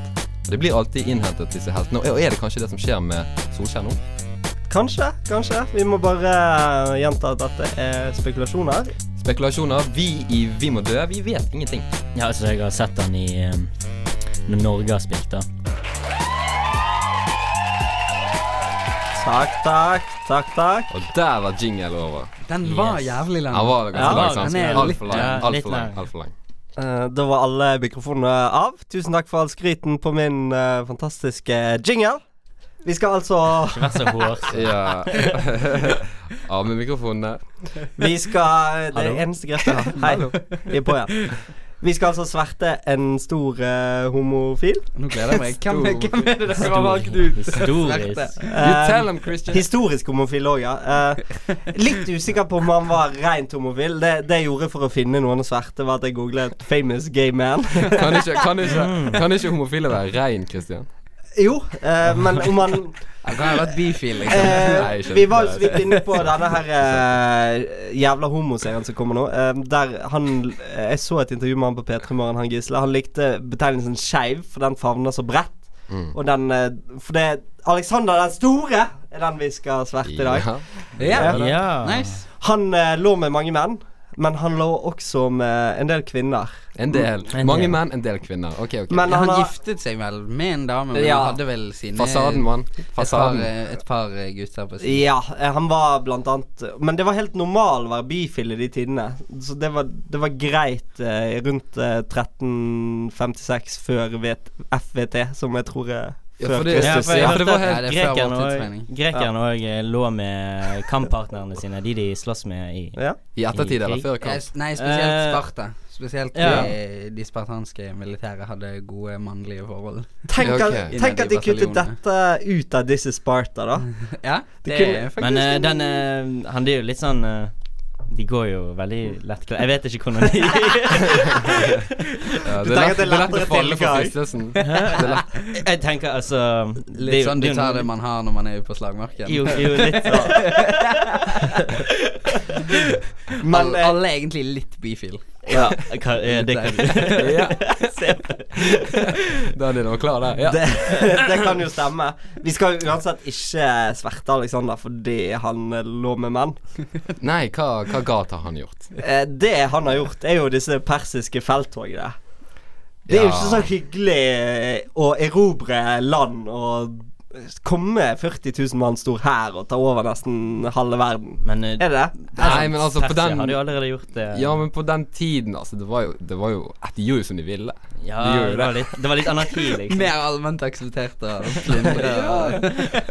[SPEAKER 2] Det blir alltid innhentet, disse heltene. Og er det kanskje det som skjer med Solskjær nå?
[SPEAKER 1] Kanskje, kanskje. Vi må bare eh, gjenta at dette er spekulasjoner.
[SPEAKER 2] Spekulasjoner. Vi i Vi må dø, vi vet ingenting.
[SPEAKER 3] ja, altså, jeg har sett han i um, Når Norge har spilt, da.
[SPEAKER 1] Takk, takk, takk, takk.
[SPEAKER 2] Og der var jingle over.
[SPEAKER 4] den var
[SPEAKER 3] Yes.
[SPEAKER 4] jævlig lang.
[SPEAKER 2] Han var
[SPEAKER 1] Ja,
[SPEAKER 2] ganske lang, sant?
[SPEAKER 4] han er litt-
[SPEAKER 2] Altfor lang.
[SPEAKER 3] ja, litt
[SPEAKER 2] Altfor lang.
[SPEAKER 3] lang.
[SPEAKER 2] Alt for lang.
[SPEAKER 1] Eh, da var alle mikrofonene av. Tusen takk for all skryten på min eh, fantastiske jingle. Vi skal altså
[SPEAKER 3] Ikke vær så hårsår.
[SPEAKER 2] Ja. Av med mikrofonene.
[SPEAKER 1] Vi skal Det
[SPEAKER 3] Hallo.
[SPEAKER 1] er eneste grepet jeg har. Hei. Vi er på igjen. Vi skal altså sverte en stor eh, homofil.
[SPEAKER 4] Nå gleder jeg meg. Hvem,
[SPEAKER 2] Stor-
[SPEAKER 4] hvem er det dere har valgt ut?
[SPEAKER 3] Historisk.
[SPEAKER 4] Sverte.
[SPEAKER 2] You
[SPEAKER 1] Eh,
[SPEAKER 2] tell them, Christian.
[SPEAKER 1] Historisk homofil òg, ja. Eh, litt usikker på om han var rent homofil. Det, det jeg gjorde for å finne noen å sverte, var at jeg googlet 'famous gay man'.
[SPEAKER 2] Kan ikke, kan, ikke, kan ikke homofile være rein, Christian?
[SPEAKER 1] jo, eh, men om han
[SPEAKER 4] Han kan ha vært bifil, liksom.
[SPEAKER 1] eh,
[SPEAKER 2] Nei, skjønte
[SPEAKER 1] Vi var jo så
[SPEAKER 2] det.
[SPEAKER 1] vidt inne på denne her eh, jævla homoserien som kommer nå. eh, der han eh, Jeg så et intervju med han på P3 Morgen, han Gisle. Han likte betegnelsen skeiv, for den favner så bredt.
[SPEAKER 2] Mm.
[SPEAKER 1] Og den eh, For det Alexander den store er den vi skal sverte i dag.
[SPEAKER 2] Ja.
[SPEAKER 4] Ja.
[SPEAKER 3] Ja.
[SPEAKER 4] Nice.
[SPEAKER 1] Han eh, lå med mange menn, men han lå også med en del kvinner.
[SPEAKER 2] En del.
[SPEAKER 3] En
[SPEAKER 2] Mange
[SPEAKER 3] del.
[SPEAKER 2] menn, en del kvinner. Ok, ok.
[SPEAKER 1] Mm. Men
[SPEAKER 4] Ja,
[SPEAKER 1] han
[SPEAKER 4] han
[SPEAKER 1] har
[SPEAKER 4] giftet seg vel med en dame, men
[SPEAKER 1] Ja.
[SPEAKER 4] han hadde vel sine
[SPEAKER 2] Fasaden, mann.
[SPEAKER 4] Et par,
[SPEAKER 2] Fasaden.
[SPEAKER 4] eh, et par eh, gutter på siden.
[SPEAKER 1] Ja, eh, han var blant annet Men det var helt normal å være bifil i de tidene. Så det var, det var greit eh, rundt eh, 1356 før VT, FVT, som jeg tror er
[SPEAKER 2] Ja,
[SPEAKER 1] før
[SPEAKER 2] for det-
[SPEAKER 3] Ja,
[SPEAKER 1] Kristus.
[SPEAKER 3] for jeg
[SPEAKER 2] Ja,
[SPEAKER 3] hørte
[SPEAKER 2] det var
[SPEAKER 3] at
[SPEAKER 4] helt- Ja, det er før
[SPEAKER 3] grekerne
[SPEAKER 4] vår
[SPEAKER 3] òg-
[SPEAKER 4] tidsregning.
[SPEAKER 3] grekerne òg eh, lå med kamppartnerne sine, de de slåss med i
[SPEAKER 1] Ja.
[SPEAKER 2] I ettertid eller før
[SPEAKER 4] Ja,
[SPEAKER 2] kamp.
[SPEAKER 4] s- Nei, spesielt
[SPEAKER 3] Eh,
[SPEAKER 4] Sparta. Spesielt
[SPEAKER 3] ja.
[SPEAKER 4] de, de spartanske militære hadde gode mannlige forhold.
[SPEAKER 1] Tenk,
[SPEAKER 2] Ja, ok.
[SPEAKER 1] at, tenk at de kuttet dette ut av This is Sparta, da.
[SPEAKER 4] Ja,
[SPEAKER 1] Det
[SPEAKER 4] det,
[SPEAKER 1] kunne-
[SPEAKER 4] er faktisk
[SPEAKER 3] Men eh,
[SPEAKER 4] en-
[SPEAKER 3] den eh, Han det er jo litt sånn eh, De går jo veldig lettkledd Jeg vet ikke hvordan de
[SPEAKER 2] Ja,
[SPEAKER 1] Du tenker at det er
[SPEAKER 2] lett
[SPEAKER 1] lettere
[SPEAKER 2] å falle for
[SPEAKER 1] tilgang.
[SPEAKER 2] fristelsen.
[SPEAKER 3] Jeg tenker altså
[SPEAKER 4] Litt sånn du tar det
[SPEAKER 3] med
[SPEAKER 4] man har når man er på slagmarken.
[SPEAKER 3] Jo, jo, litt sånn.
[SPEAKER 1] Men
[SPEAKER 4] alle,
[SPEAKER 1] eh,
[SPEAKER 4] alle er egentlig litt bifil.
[SPEAKER 3] Ja, hva- eh, det kan du
[SPEAKER 2] Ja,
[SPEAKER 3] se på.
[SPEAKER 2] Daniel var klar der. Ja.
[SPEAKER 1] det, det kan jo stemme. Vi skal jo uansett ikke sverte Alexander fordi han eh, lå med menn.
[SPEAKER 2] Nei, hva, hva galt har han gjort?
[SPEAKER 1] Eh, Det han har gjort, er jo disse persiske felttogene. Det er jo
[SPEAKER 2] Ja.
[SPEAKER 1] ikke så hyggelig å erobre eh, land og komme 40 000 mann stor hær og ta over nesten halve verden.
[SPEAKER 3] Men eh,
[SPEAKER 1] Er det det?
[SPEAKER 2] Nei, men altså, på
[SPEAKER 3] Persia
[SPEAKER 2] den-
[SPEAKER 3] hadde jo allerede gjort det.
[SPEAKER 2] Ja, men på den tiden, altså. Det var jo, det var jo De gjorde jo som de ville.
[SPEAKER 3] Ja,
[SPEAKER 2] de gjorde
[SPEAKER 3] det, var litt, det var litt anarki, liksom.
[SPEAKER 4] Mer allment akseptert av plyndre og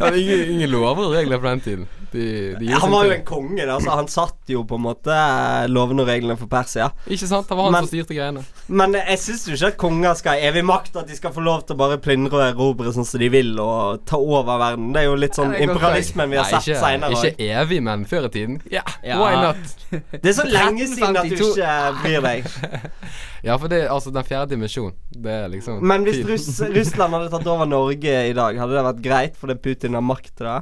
[SPEAKER 2] Ja, ingen, ingen lover og regler på den tiden. De, de gjorde
[SPEAKER 1] Han
[SPEAKER 2] som
[SPEAKER 1] var jo
[SPEAKER 2] de-
[SPEAKER 1] en konge, da, så han satt jo på en måte eh, lovene og reglene for Persia.
[SPEAKER 2] Ikke sant? Det var han
[SPEAKER 1] Men-
[SPEAKER 2] som styrte greiene.
[SPEAKER 1] Men eh, jeg syns jo ikke at konger skal ha evig makt, at de skal få lov til å bare plyndre og erobre sånn som de vil, og ta over verden. Det er jo litt sånn
[SPEAKER 4] Nei, det er godt
[SPEAKER 1] imperialismen vi har
[SPEAKER 2] Nei,
[SPEAKER 1] sett
[SPEAKER 2] ikke,
[SPEAKER 1] seinere òg.
[SPEAKER 2] ikke evig, men før i tiden. Ja,
[SPEAKER 3] Ja.
[SPEAKER 2] why not?
[SPEAKER 1] Det er så lenge siden at du ikke
[SPEAKER 4] 1352.
[SPEAKER 1] bryr deg.
[SPEAKER 2] Ja, for det er altså den fjerde dimensjon. Det er liksom
[SPEAKER 1] Men hvis
[SPEAKER 2] tid.
[SPEAKER 1] Russ, Russland hadde tatt over Norge i dag, hadde det vært greit fordi Putin har makt til det?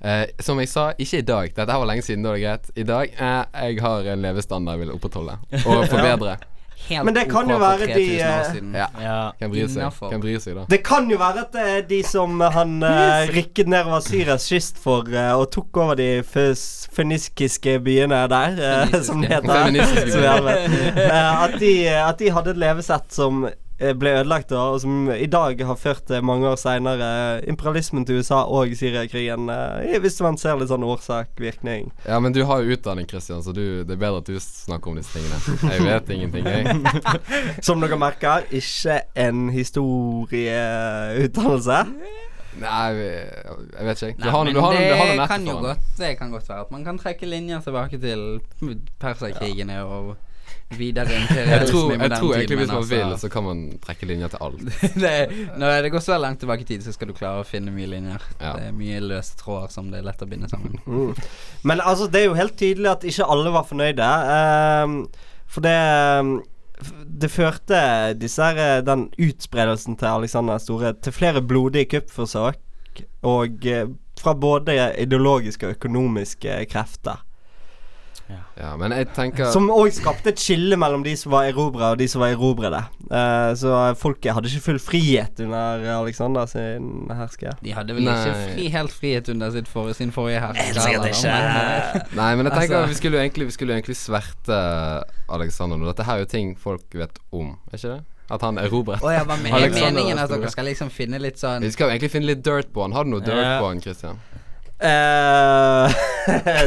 [SPEAKER 2] Eh, Som jeg sa, ikke i dag. Dette her var lenge siden, da er det greit. I dag eh, jeg har en levestandard jeg vil opprettholde og forbedre.
[SPEAKER 4] helt
[SPEAKER 1] Men det kan
[SPEAKER 4] OK
[SPEAKER 1] jo
[SPEAKER 4] for
[SPEAKER 1] være
[SPEAKER 4] 3000
[SPEAKER 1] de,
[SPEAKER 4] år
[SPEAKER 1] eh,
[SPEAKER 4] siden.
[SPEAKER 2] Ja.
[SPEAKER 3] Ja.
[SPEAKER 2] Hvem bryr seg?
[SPEAKER 4] Innenfor.
[SPEAKER 2] Hvem bryr seg, da?
[SPEAKER 1] Det kan jo være at det er de som han eh, rykket nedover Syrias kyst for eh, og tok over de føs- fønikiske byene der, eh, som det heter.
[SPEAKER 2] Feministiske
[SPEAKER 1] Som vi
[SPEAKER 2] byer.
[SPEAKER 1] alle vet. Eh, at, de, at de hadde et levesett som eh, ble ødelagt, da, og som i dag har ført til mange år seinere imperialismen til USA og Syriakrigen. eh, hvis man ser litt sånn årsak-virkning.
[SPEAKER 2] Ja, men du har jo utdanning, Christian, så du, det er bedre at du snakker om disse tingene. Jeg vet ingenting, jeg.
[SPEAKER 1] Som dere merker, ikke en historieutdannelse.
[SPEAKER 2] Nei, jeg vet ikke. jeg. Du
[SPEAKER 4] Nei,
[SPEAKER 2] har noe
[SPEAKER 4] men
[SPEAKER 2] du har, noe- du har noe
[SPEAKER 4] det
[SPEAKER 2] nettet
[SPEAKER 4] kan jo
[SPEAKER 2] for den.
[SPEAKER 4] godt Det kan godt være at man kan trekke linjer tilbake til perserkrigene og videre
[SPEAKER 2] Jeg tror,
[SPEAKER 4] imperialisme i
[SPEAKER 2] jeg tror
[SPEAKER 4] moderne tid.
[SPEAKER 2] egentlig hvis
[SPEAKER 4] Men
[SPEAKER 2] man vil,
[SPEAKER 4] altså
[SPEAKER 2] så kan man trekke linjer til alt.
[SPEAKER 4] det, Når det går så langt tilbake i tid, så skal du klare å finne mye linjer.
[SPEAKER 2] Ja.
[SPEAKER 4] Det er mye løse tråder som det er lett å binde sammen.
[SPEAKER 1] Mm. Men altså, det er jo helt tydelig at ikke alle var fornøyde. ehm, for det ehm, f- Det førte disse her, eh, den utspredelsen til Alexander den store til flere blodige kuppforsøk. Og eh, fra både ideologiske og økonomiske krefter.
[SPEAKER 2] Ja, men jeg tenker
[SPEAKER 1] Som òg skapte et skille mellom de som var erobrere, og de som var erobrede. Eh, så folket hadde ikke full frihet under Alexander sin herske.
[SPEAKER 4] De hadde vel
[SPEAKER 2] Nei.
[SPEAKER 4] ikke fri, helt frihet under sitt for, sin forrige hersker. eller, men, eh,
[SPEAKER 2] Nei, men jeg tenker
[SPEAKER 4] Altså-
[SPEAKER 2] vi skulle jo egentlig, vi skulle jo egentlig sverte eh, Alexander nå. Dette her er jo ting folk vet om, er ikke det? At han erobret.
[SPEAKER 4] Å ja, hva men- er
[SPEAKER 2] Alexander
[SPEAKER 4] meningen
[SPEAKER 2] den
[SPEAKER 4] at dere
[SPEAKER 2] store.
[SPEAKER 4] skal liksom finne litt
[SPEAKER 2] Vi
[SPEAKER 4] sånn
[SPEAKER 2] skal jo egentlig finne litt dirt på han. Har du noe dirt
[SPEAKER 3] Ja.
[SPEAKER 2] på han, Christian?
[SPEAKER 1] Eh,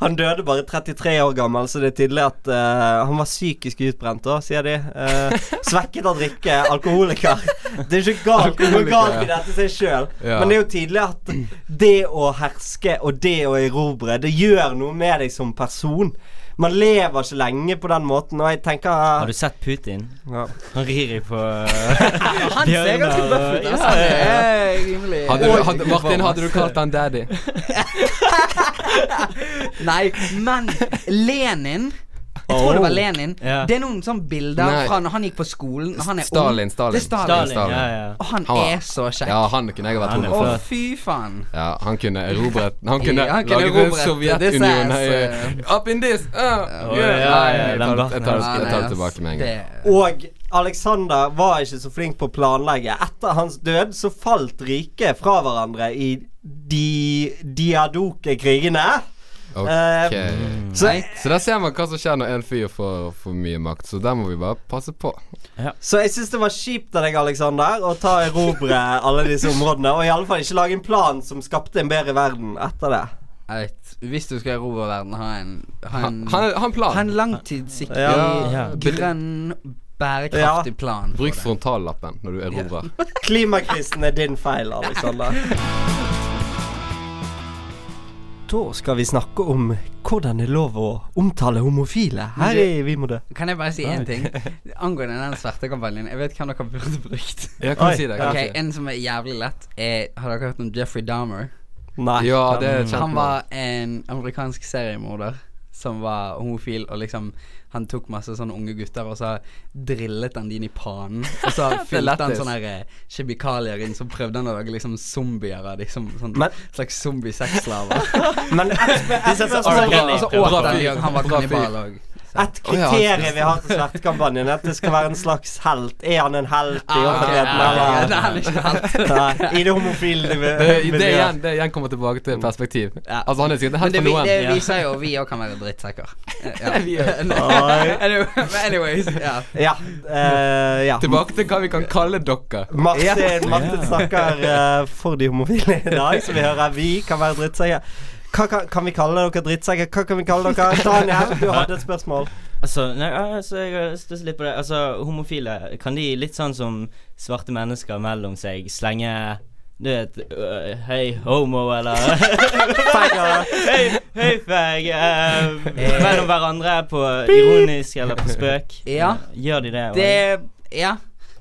[SPEAKER 1] han døde bare 33 år gammel, så det er tydelig at eh, han var psykisk utbrent, da, sier de. Eh, svekket av drikke, alkoholiker. Det er ikke galt, det er noe galt i dette seg sjøl,
[SPEAKER 2] Ja.
[SPEAKER 1] men det er jo tydelig at det å herske og det å erobre, det gjør noe med deg som person. Man lever ikke lenge på den måten, og jeg
[SPEAKER 3] Har
[SPEAKER 1] tenker
[SPEAKER 3] du sett Putin?
[SPEAKER 1] ja.
[SPEAKER 3] Han rir i på
[SPEAKER 4] Han ser ganske bøff ut, altså. Det er rimelig
[SPEAKER 2] Hadde du, hadde, Martin, hadde du kalt han daddy?
[SPEAKER 4] Nei, men Lenin jeg tror det var Lenin.
[SPEAKER 3] Oh. Ja.
[SPEAKER 4] Det er noen sånne bilder
[SPEAKER 2] Nei.
[SPEAKER 4] fra når han gikk på skolen. Når han er
[SPEAKER 2] Stalin,
[SPEAKER 4] ung.
[SPEAKER 2] Stalin.
[SPEAKER 4] Det er Stalin.
[SPEAKER 3] Stalin,
[SPEAKER 2] Stalin.
[SPEAKER 3] ja, ja.
[SPEAKER 4] Og han,
[SPEAKER 2] Han var-
[SPEAKER 4] er så kjekk.
[SPEAKER 2] Ja, han kunne jeg ha vært
[SPEAKER 3] Han er
[SPEAKER 2] homo.
[SPEAKER 4] Å,
[SPEAKER 3] flott.
[SPEAKER 4] fy faen.
[SPEAKER 2] Ja, han kunne erobret Han kunne
[SPEAKER 4] Han kunne
[SPEAKER 2] laget en
[SPEAKER 4] erobret
[SPEAKER 2] Sovjetunionen
[SPEAKER 4] this ass,
[SPEAKER 2] i- Up in this! Uh, yeah.
[SPEAKER 3] ja, ja,
[SPEAKER 2] Nei,
[SPEAKER 3] ja,
[SPEAKER 2] jeg
[SPEAKER 3] den
[SPEAKER 2] tar- jeg tar-
[SPEAKER 4] Nei,
[SPEAKER 2] jeg
[SPEAKER 4] nei,
[SPEAKER 2] tar det
[SPEAKER 4] ass,
[SPEAKER 2] tilbake med en gang.
[SPEAKER 4] det-
[SPEAKER 1] Og Alexander var ikke så flink på å planlegge. Etter hans død så falt riket fra hverandre i de diadoke-krigene.
[SPEAKER 2] Ok.
[SPEAKER 4] Eh,
[SPEAKER 1] Så,
[SPEAKER 2] Så der ser man hva som skjer når en fyr får for mye makt, så der må vi bare passe på.
[SPEAKER 1] så jeg syns det var kjipt av deg, Alexander, å ta og erobre alle disse områdene. Og i alle fall ikke lage en plan som skapte en bedre verden etter det.
[SPEAKER 4] Jeg vet, Hvis du skal erobre verden, ha en Ha
[SPEAKER 2] Han han-
[SPEAKER 4] en,
[SPEAKER 2] han har en
[SPEAKER 4] ha
[SPEAKER 2] plan.
[SPEAKER 4] en langtidssiktig,
[SPEAKER 1] Ja.
[SPEAKER 3] Ja.
[SPEAKER 4] grønn, bærekraftig plan. for
[SPEAKER 2] Bruk
[SPEAKER 4] det.
[SPEAKER 2] frontallappen når du erobrer.
[SPEAKER 1] Klimakrisen er din feil, Alexander. Da skal vi snakke om hvordan det er lov å omtale homofile her i Vi må dø.
[SPEAKER 4] Kan jeg bare si én ting angående den svarte kampanjen? Jeg vet hvem dere burde brukt.
[SPEAKER 2] Ja, kan
[SPEAKER 1] Oi,
[SPEAKER 2] du si det? Kan du
[SPEAKER 4] Ok,
[SPEAKER 2] si det?
[SPEAKER 4] En som er jævlig lett, er Har dere hørt om Jeffrey Dahmer?
[SPEAKER 1] Nei.
[SPEAKER 2] Ja, det er kjent.
[SPEAKER 4] Han
[SPEAKER 2] navn.
[SPEAKER 4] var en amerikansk seriemorder som var homofil, og liksom Han tok masse sånne unge gutter, og så drillet han din i panen. Og så fylte han
[SPEAKER 2] lættis.
[SPEAKER 4] sånne her, eh, kjemikalier inn, så prøvde han å lage liksom zombier av de, som sånn
[SPEAKER 1] Men-
[SPEAKER 4] slags zombie-sexslaver.
[SPEAKER 1] Men et spør- et
[SPEAKER 3] ser så
[SPEAKER 1] spørsmål-
[SPEAKER 3] arrogante
[SPEAKER 4] Og så
[SPEAKER 3] Bra
[SPEAKER 4] åt han de,
[SPEAKER 2] fyr.
[SPEAKER 4] og han var
[SPEAKER 2] Bra fyr.
[SPEAKER 4] kannibal òg.
[SPEAKER 1] E. Altså, Et kriterium vi har til Svertekampanjen, er at det skal være en slags helt. Er han en helt i
[SPEAKER 2] Ah,
[SPEAKER 1] offentligheten,
[SPEAKER 4] Nei,
[SPEAKER 1] eller?
[SPEAKER 4] nei, nei, ikke helt.
[SPEAKER 1] Nei, I det homofile
[SPEAKER 2] Det, det,
[SPEAKER 1] miljøet.
[SPEAKER 2] igjen, det igjen kommer tilbake til perspektiv.
[SPEAKER 4] Ja.
[SPEAKER 2] Altså Han er sikkert
[SPEAKER 4] Men
[SPEAKER 2] helt
[SPEAKER 4] det,
[SPEAKER 2] for
[SPEAKER 4] vi-
[SPEAKER 2] noen.
[SPEAKER 4] det
[SPEAKER 3] Ja.
[SPEAKER 4] viser jo at vi òg kan være drittsekker. Ja.
[SPEAKER 1] Oi.
[SPEAKER 4] Anyway- men Anyways, ja.
[SPEAKER 1] Ja. eh, ja.
[SPEAKER 2] Tilbake til hva vi kan kalle dere.
[SPEAKER 1] Martin, Martin snakker eh, for de homofile i dag, som vi hører. Vi kan være drittsekker. Hva kan, kan vi kalle dere drittsekker? Hva kan vi kalle dere? Daniel, du hadde et spørsmål.
[SPEAKER 3] Altså, nei, altså, jeg stusser litt på det. Altså, homofile, kan de litt sånn som svarte mennesker mellom seg slenge du vet øh, Hei, homo, eller
[SPEAKER 1] Feiger.
[SPEAKER 3] Hei, hei, feg øh, Mellom hverandre på ironisk eller på spøk.
[SPEAKER 4] Ja.
[SPEAKER 3] Gjør de det? og-
[SPEAKER 4] Det Ja.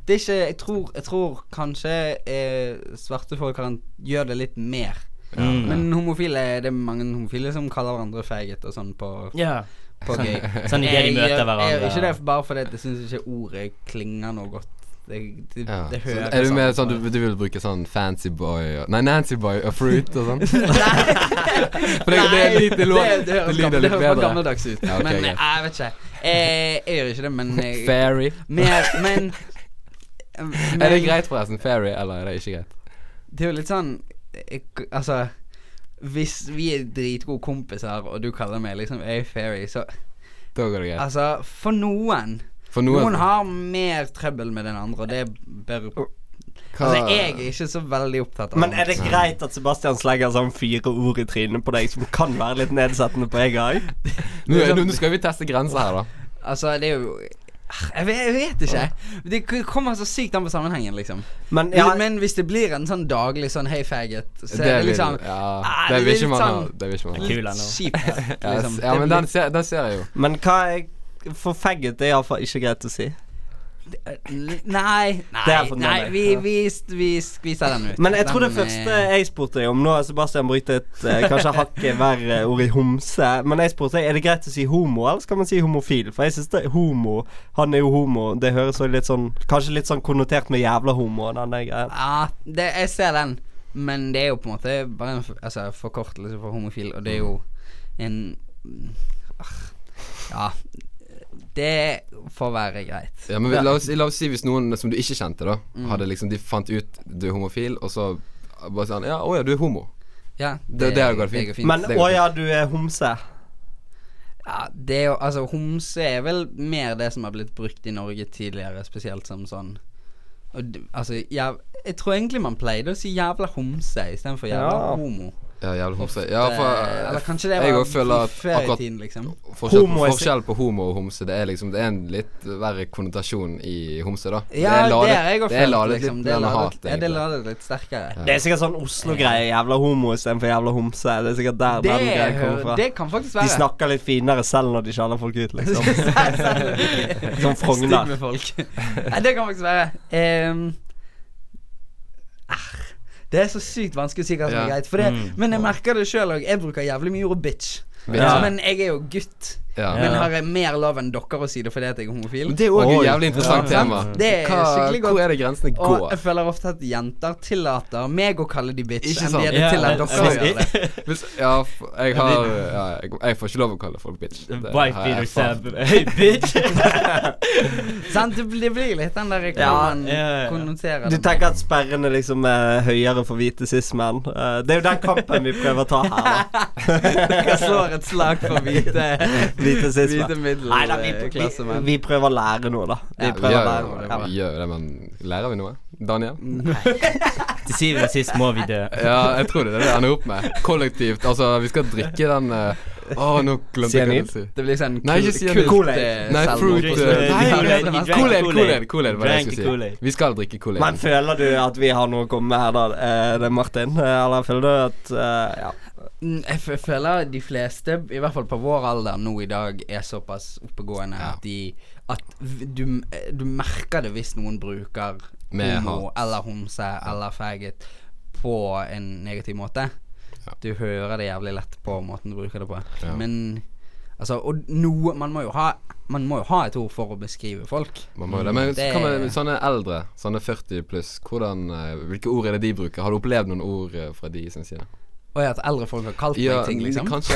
[SPEAKER 4] Det er ikke Jeg tror, jeg tror kanskje eh, svarte folk kan gjøre det litt mer.
[SPEAKER 3] Mm.
[SPEAKER 4] Men homofile det er mange homofile som kaller hverandre feiget og sånn på,
[SPEAKER 3] Ja.
[SPEAKER 4] på gøy.
[SPEAKER 3] Sånn i det de
[SPEAKER 4] Jeg
[SPEAKER 3] møter
[SPEAKER 4] gjør- Jeg gjør
[SPEAKER 3] hverandre.
[SPEAKER 4] ikke det bare fordi at jeg syns ikke ordet klinger noe godt. Det, det,
[SPEAKER 2] Ja.
[SPEAKER 4] det
[SPEAKER 2] Så
[SPEAKER 4] hører
[SPEAKER 2] er du mer sånn du, du vil bruke sånn fancy boy og, Nei, Nancy boy og fruit og sånn? For det, det er litt det låter
[SPEAKER 4] det, det, høres
[SPEAKER 2] det lyder
[SPEAKER 4] gammel- det
[SPEAKER 2] litt
[SPEAKER 4] høres bare
[SPEAKER 2] bedre.
[SPEAKER 4] gammeldags ut.
[SPEAKER 2] Ja, ok,
[SPEAKER 4] men
[SPEAKER 2] greit.
[SPEAKER 4] jeg vet ikke. Eh, jeg gjør ikke det, men jeg,
[SPEAKER 2] Fairy.
[SPEAKER 4] mer, men,
[SPEAKER 2] Er det
[SPEAKER 4] men-
[SPEAKER 2] greit forresten? Fairy, eller er det ikke greit?
[SPEAKER 4] Det er jo litt sånn jeg, Altså Hvis vi er dritgode kompiser, og du kaller meg liksom A Fairy, så
[SPEAKER 2] Da går det greit.
[SPEAKER 4] Altså, for noen
[SPEAKER 2] For
[SPEAKER 4] Noen,
[SPEAKER 2] noen
[SPEAKER 4] har mer trøbbel med den andre, og det bør
[SPEAKER 2] hva-
[SPEAKER 4] Altså, jeg er ikke så veldig opptatt av
[SPEAKER 1] Men er det greit at Sebastian slenger sånn fire ord i trynet på deg, som kan være litt nedsettende på en gang?
[SPEAKER 2] nå, nå, nå skal vi teste grenser her, da.
[SPEAKER 4] Altså, det er jo jeg vet, jeg vet ikke. Det k- kommer så sykt an på sammenhengen, liksom.
[SPEAKER 1] Men ja,
[SPEAKER 4] Men hvis det blir en sånn daglig sånn 'hei, faggot', så
[SPEAKER 2] det
[SPEAKER 4] er det
[SPEAKER 2] vil,
[SPEAKER 4] liksom
[SPEAKER 2] ja,
[SPEAKER 4] ah,
[SPEAKER 2] det
[SPEAKER 4] det
[SPEAKER 2] vil
[SPEAKER 4] er
[SPEAKER 2] ikke
[SPEAKER 4] litt
[SPEAKER 2] man ha.
[SPEAKER 4] sånn-
[SPEAKER 2] Det vil ikke man ha.
[SPEAKER 3] Kul
[SPEAKER 4] litt
[SPEAKER 3] ennå.
[SPEAKER 4] kjipt.
[SPEAKER 2] Ja,
[SPEAKER 4] Liksom.
[SPEAKER 2] ja,
[SPEAKER 4] Det
[SPEAKER 2] men
[SPEAKER 4] blir-
[SPEAKER 2] den ser, den ser jeg jo.
[SPEAKER 1] men hva er For faggot er iallfall ikke greit å si.
[SPEAKER 4] Nei, nei,
[SPEAKER 1] Det er for
[SPEAKER 4] nei
[SPEAKER 1] dårlig.
[SPEAKER 4] vi, vi, vi skviser den ut.
[SPEAKER 1] Men jeg tror det
[SPEAKER 4] Den,
[SPEAKER 1] første
[SPEAKER 4] eh,
[SPEAKER 1] jeg spurte deg om Nå har Sebastian brukt et eh, kanskje hakket verre ord i homse. Men jeg spurte deg, er det greit å si homo, eller skal man si homofil? For jeg syns det er homo. Han er jo homo. Det høres jo litt sånn Kanskje litt sånn konnotert med jævla homo. Den der greia.
[SPEAKER 4] Ja, det, jeg ser den. Men det er jo på en måte bare en f- altså, forkortelse for homofil, og det er jo en Ah, Ja. Det får være greit.
[SPEAKER 2] Ja, men vi- la, oss, la oss si hvis noen som du ikke kjente, da
[SPEAKER 4] Mm.
[SPEAKER 2] hadde liksom, De fant ut du er homofil, og så bare sånn Ja, å ja, du er homo.
[SPEAKER 4] Ja,
[SPEAKER 2] Det- det går fint.
[SPEAKER 1] Men
[SPEAKER 2] det er
[SPEAKER 1] å
[SPEAKER 2] godt.
[SPEAKER 1] ja, du er homse.
[SPEAKER 4] Ja, det er jo Altså, homse er vel mer det som har blitt brukt i Norge tidligere, spesielt som sånn og, d- Altså, ja, jeg tror egentlig man pleide å si jævla homse istedenfor jævla
[SPEAKER 1] Ja.
[SPEAKER 4] homo.
[SPEAKER 2] Ja, jævla homse. Ja,
[SPEAKER 4] Eh,
[SPEAKER 2] for
[SPEAKER 4] Eller kanskje det
[SPEAKER 2] jeg
[SPEAKER 4] var
[SPEAKER 2] også føler at
[SPEAKER 4] før i
[SPEAKER 2] akkurat
[SPEAKER 4] tiden, liksom.
[SPEAKER 2] forskjell,
[SPEAKER 1] Homo
[SPEAKER 2] på,
[SPEAKER 1] er si-
[SPEAKER 2] forskjell på homo og homse, det er liksom Det er en litt verre konnotasjon i homse, da.
[SPEAKER 4] Ja, det er jeg
[SPEAKER 2] det
[SPEAKER 4] og
[SPEAKER 2] er
[SPEAKER 4] følt,
[SPEAKER 2] ladet
[SPEAKER 4] liksom.
[SPEAKER 2] litt
[SPEAKER 4] Det er
[SPEAKER 2] mellom
[SPEAKER 4] ladet,
[SPEAKER 2] hat,
[SPEAKER 4] ja, det er
[SPEAKER 2] egentlig.
[SPEAKER 4] ladet litt sterkere.
[SPEAKER 1] Det er sikkert sånn Oslo-greie. Jævla homo istedenfor jævla homse. Det er sikkert der
[SPEAKER 4] Det,
[SPEAKER 1] den greia
[SPEAKER 4] hører-
[SPEAKER 1] kommer fra.
[SPEAKER 4] det kan faktisk
[SPEAKER 1] De
[SPEAKER 4] være.
[SPEAKER 1] snakker litt finere selv når de skjeller folk ut, liksom. Som
[SPEAKER 4] Stygg
[SPEAKER 1] Frogner.
[SPEAKER 4] med folk. Nei, det kan faktisk være. Ehm, ah, det er så sykt vanskelig å si hva som er
[SPEAKER 2] Ja.
[SPEAKER 4] greit. For det,
[SPEAKER 3] Mm.
[SPEAKER 4] Men jeg merker det sjøl òg. Jeg bruker jævlig mye ordet bitch.
[SPEAKER 2] Bitch.
[SPEAKER 1] Ja.
[SPEAKER 4] Men jeg er jo gutt.
[SPEAKER 2] Ja.
[SPEAKER 3] Ja.
[SPEAKER 4] Men har jeg mer lov enn dere å si det fordi at jeg er homofil?
[SPEAKER 2] Men det er jo også
[SPEAKER 1] Oi.
[SPEAKER 2] et jævlig interessant
[SPEAKER 4] Ja.
[SPEAKER 2] tema.
[SPEAKER 4] Det er skikkelig godt.
[SPEAKER 2] Hvor er det grensene
[SPEAKER 4] og
[SPEAKER 2] går?
[SPEAKER 4] jeg føler ofte at jenter tillater meg å kalle de bitch,
[SPEAKER 2] Ikke
[SPEAKER 4] enn
[SPEAKER 2] sant?
[SPEAKER 4] de
[SPEAKER 3] Ja,
[SPEAKER 4] tillater
[SPEAKER 3] jeg-
[SPEAKER 4] dere å
[SPEAKER 3] jeg-
[SPEAKER 4] gjøre det.
[SPEAKER 2] Hvis, ja, f- jeg har ja, jeg, jeg får ikke lov å kalle folk bitch. Det har jeg
[SPEAKER 3] Bite Peter
[SPEAKER 2] erfart.
[SPEAKER 3] Seb. Hey, bitch!
[SPEAKER 4] Sant? Det blir- det blir litt den der
[SPEAKER 1] Ja,
[SPEAKER 4] hvordan man
[SPEAKER 3] ja, ja.
[SPEAKER 4] konnoterer
[SPEAKER 1] Du
[SPEAKER 4] det.
[SPEAKER 1] tenker at sperrene liksom er høyere for hvite cis-menn? Eh, det er jo den kampen vi prøver å ta her. da.
[SPEAKER 4] Dere slår et slag for hvite
[SPEAKER 1] Hvite
[SPEAKER 4] Hvite
[SPEAKER 1] cis-menn.
[SPEAKER 4] middel-
[SPEAKER 1] Nei, da, vi, vi,
[SPEAKER 4] klassemenn.
[SPEAKER 1] vi prøver å lære noe, da. Vi
[SPEAKER 4] Ja,
[SPEAKER 2] Vi
[SPEAKER 1] prøver å
[SPEAKER 2] gjør
[SPEAKER 1] lære
[SPEAKER 2] jo
[SPEAKER 1] noe.
[SPEAKER 2] det,
[SPEAKER 1] Ja.
[SPEAKER 2] vi gjør jo det, men lærer vi noe? Daniel?
[SPEAKER 3] Til syvende og sist må vi dø.
[SPEAKER 2] Ja, jeg tror det er det vi ender opp med. Kollektivt. Altså, vi skal drikke den eh, Å, nå glemte jeg hva jeg
[SPEAKER 1] Cyanid?
[SPEAKER 2] skulle si.
[SPEAKER 4] Det blir sånn
[SPEAKER 2] Nei, ikke si det.
[SPEAKER 1] Kool-Aid.
[SPEAKER 4] eh,
[SPEAKER 2] Nei,
[SPEAKER 4] salmo
[SPEAKER 2] fruit,
[SPEAKER 4] på
[SPEAKER 2] eh,
[SPEAKER 4] slutten.
[SPEAKER 2] nei,
[SPEAKER 4] Ja,
[SPEAKER 2] nei,
[SPEAKER 4] det
[SPEAKER 3] nei,
[SPEAKER 4] var-
[SPEAKER 3] drank
[SPEAKER 2] Kool-Aid, Kool-Aid,
[SPEAKER 3] Kool-Aid.
[SPEAKER 2] Kool-Aid var det jeg
[SPEAKER 3] Drank
[SPEAKER 2] skulle si.
[SPEAKER 3] Kool-Aid.
[SPEAKER 2] Vi skal drikke Kool-Aid.
[SPEAKER 1] Men føler du at vi har noe å komme med her, da, eh, det er Martin? Eh, Eller føler du at eh, Ja.
[SPEAKER 4] Mm, Jeg f- føler de fleste, i hvert fall på vår alder nå i dag, er såpass oppegående
[SPEAKER 2] Ja.
[SPEAKER 4] at de At v- du, m- eh, du merker det hvis noen bruker
[SPEAKER 2] Med
[SPEAKER 4] homo
[SPEAKER 2] hat.
[SPEAKER 4] eller homse eller faggot på en negativ måte.
[SPEAKER 2] Ja.
[SPEAKER 4] Du hører det jævlig lett på måten du bruker det på.
[SPEAKER 2] Ja.
[SPEAKER 4] Men altså Og noe Man må jo ha Man må jo ha et ord for å beskrive folk.
[SPEAKER 2] Man må jo det. Men så
[SPEAKER 4] Det-
[SPEAKER 2] kan man, sånne eldre, sånne 40 pluss, hvordan, eh, hvilke ord er det de bruker? Har du opplevd noen ord eh, fra de sin side?
[SPEAKER 4] Oi, at eldre folk har kalt
[SPEAKER 2] Ja,
[SPEAKER 4] meg ting, liksom?
[SPEAKER 2] kanskje.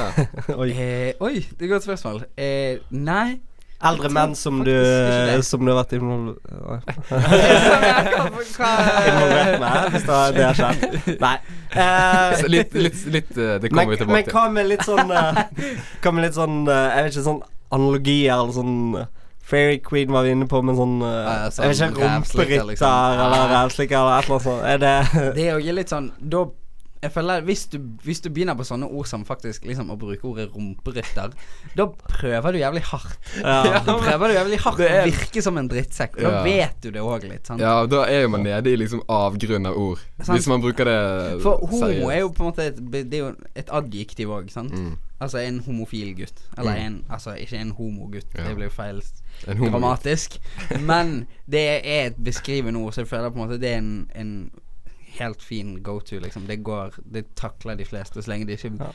[SPEAKER 1] Oi.
[SPEAKER 4] Eh, oi, det er et godt spørsmål. Eh, nei.
[SPEAKER 1] Eldre menn som du, eh,
[SPEAKER 4] Faktisk ikke det.
[SPEAKER 1] som du har vært involvert
[SPEAKER 4] Hva- hva-
[SPEAKER 1] involvert med, hvis det det har skjedd. Nei. Eh,
[SPEAKER 2] Så Litt, litt, litt eh,
[SPEAKER 1] men,
[SPEAKER 2] Det kommer vi
[SPEAKER 1] men
[SPEAKER 2] tilbake til.
[SPEAKER 1] hva med litt sånn eh, Hva med litt sånn eh, Jeg vet ikke, sånn analogier eller sånn eh, Fairy Queen var vi inne på, men sånn, eh,
[SPEAKER 4] Ja, sånn
[SPEAKER 1] Jeg vet ikke,
[SPEAKER 4] rævslikker,
[SPEAKER 1] Rumperytter
[SPEAKER 4] liksom.
[SPEAKER 1] eller
[SPEAKER 4] Ja.
[SPEAKER 1] rævslikker eller et eller annet sånt. Er det
[SPEAKER 4] Det er jo litt sånn Da jeg føler hvis du, hvis du begynner på sånne ord som faktisk liksom å bruke ordet rumperytter, da prøver du jævlig hardt.
[SPEAKER 1] Ja.
[SPEAKER 4] Da prøver du jævlig hardt å
[SPEAKER 2] Det er-
[SPEAKER 4] virke som en drittsekk. og Da
[SPEAKER 2] Ja.
[SPEAKER 4] vet du det òg litt, sant?
[SPEAKER 2] Ja, da er jo man nede i liksom avgrunn av ord.
[SPEAKER 4] Sant.
[SPEAKER 2] Hvis man bruker det
[SPEAKER 4] For homo er jo på en måte et, det er jo et adjektiv òg, sant? Altså en homofil gutt. Eller
[SPEAKER 2] Mm.
[SPEAKER 4] en Altså ikke en homogutt,
[SPEAKER 2] Ja.
[SPEAKER 4] det blir jo feil
[SPEAKER 2] En homo-
[SPEAKER 4] dramatisk. Men det er et beskrivende ord, så jeg føler på en måte det er en, en helt fin go to, liksom. Det går Det takler de fleste, så lenge det ikke
[SPEAKER 1] Ja.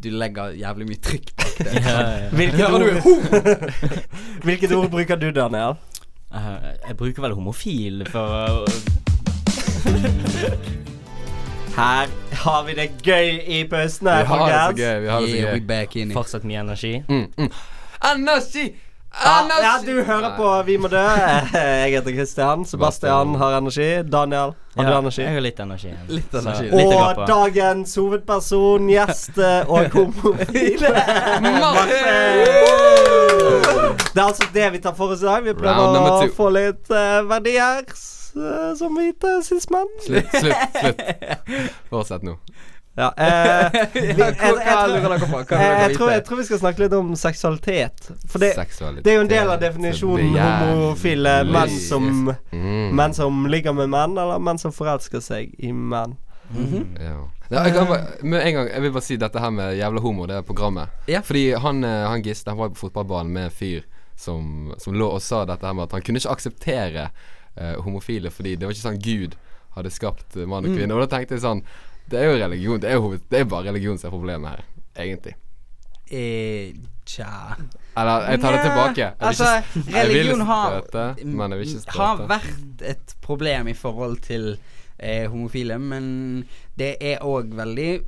[SPEAKER 4] Du legger jævlig mye trykk bak det.
[SPEAKER 3] Ja, ja.
[SPEAKER 1] Hvilket
[SPEAKER 4] Ja, du er
[SPEAKER 1] ord, hvilket ord bruker du, Daniel?
[SPEAKER 3] Eh, Jeg bruker vel homofil for å
[SPEAKER 1] Her har vi det gøy i pausen
[SPEAKER 2] Vi
[SPEAKER 1] her,
[SPEAKER 2] har det så
[SPEAKER 1] folkens.
[SPEAKER 2] gøy. Vi har det så
[SPEAKER 4] Yeah, we
[SPEAKER 2] gøy.
[SPEAKER 4] back in it.
[SPEAKER 3] fortsatt mye energi.
[SPEAKER 2] Mm, mm. Energi!
[SPEAKER 1] Ja,
[SPEAKER 2] Energi!
[SPEAKER 1] ja, du hører på Vi må dø. Jeg heter Kristian. Sebastian har energi. Daniel, har du
[SPEAKER 3] Ja,
[SPEAKER 1] energi?
[SPEAKER 3] Jeg har litt energi. igjen.
[SPEAKER 4] Litt
[SPEAKER 3] Så,
[SPEAKER 4] energi.
[SPEAKER 3] litt å
[SPEAKER 1] Og
[SPEAKER 3] gå på.
[SPEAKER 1] dagens hovedperson, gjest eh, og homofile.
[SPEAKER 2] Martin!
[SPEAKER 1] Det er altså det vi tar for oss i dag. Vi
[SPEAKER 2] Round
[SPEAKER 1] prøver
[SPEAKER 2] number
[SPEAKER 1] å
[SPEAKER 2] two.
[SPEAKER 1] få litt eh, verdier eh, som vi til sist mann.
[SPEAKER 2] Slutt, slutt, slutt. Fortsett nå.
[SPEAKER 1] Ja, eh, vi- jeg-
[SPEAKER 4] Hva
[SPEAKER 1] jeg tror-
[SPEAKER 4] hva lurer dere på? Hva
[SPEAKER 1] Eh, jeg,
[SPEAKER 4] lurer
[SPEAKER 1] jeg, tror,
[SPEAKER 4] dere
[SPEAKER 1] jeg
[SPEAKER 4] på?
[SPEAKER 1] tror vi skal snakke litt om seksualitet. For det,
[SPEAKER 2] Seksualitet.
[SPEAKER 1] det er jo en del av definisjonen homofile menn som,
[SPEAKER 2] mm.
[SPEAKER 1] menn som ligger med menn, eller menn som forelsker seg i menn.
[SPEAKER 2] Ja. Ja, jeg, kan bare, med en gang, jeg vil bare si dette her med jævla homo, det er programmet.
[SPEAKER 4] Ja.
[SPEAKER 2] Fordi han, eh, han Gisle han var jo på fotballbanen med en fyr som, som lå og sa dette her med at han kunne ikke akseptere eh, homofile fordi det var ikke sånn Gud hadde skapt eh,
[SPEAKER 1] Mm.
[SPEAKER 2] mann og kvinne. Og da tenkte jeg sånn Det er jo religion. Det er, jo, hoved- det er bare religion som er problemet her, egentlig.
[SPEAKER 4] Eh, tja
[SPEAKER 2] Eller jeg tar det
[SPEAKER 4] Nja,
[SPEAKER 2] tilbake. Jeg vil
[SPEAKER 4] Altså,
[SPEAKER 2] ikke- jeg vil
[SPEAKER 4] religion har
[SPEAKER 2] støte, men jeg vil ikke støte.
[SPEAKER 4] Har vært et problem i forhold til eh, homofile, men det er òg veldig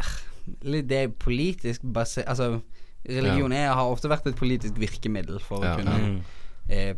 [SPEAKER 4] litt- Det er politisk basert Altså, religion er, har ofte vært et politisk virkemiddel for å
[SPEAKER 2] Ja.
[SPEAKER 4] kunne
[SPEAKER 3] Mm.
[SPEAKER 4] eh,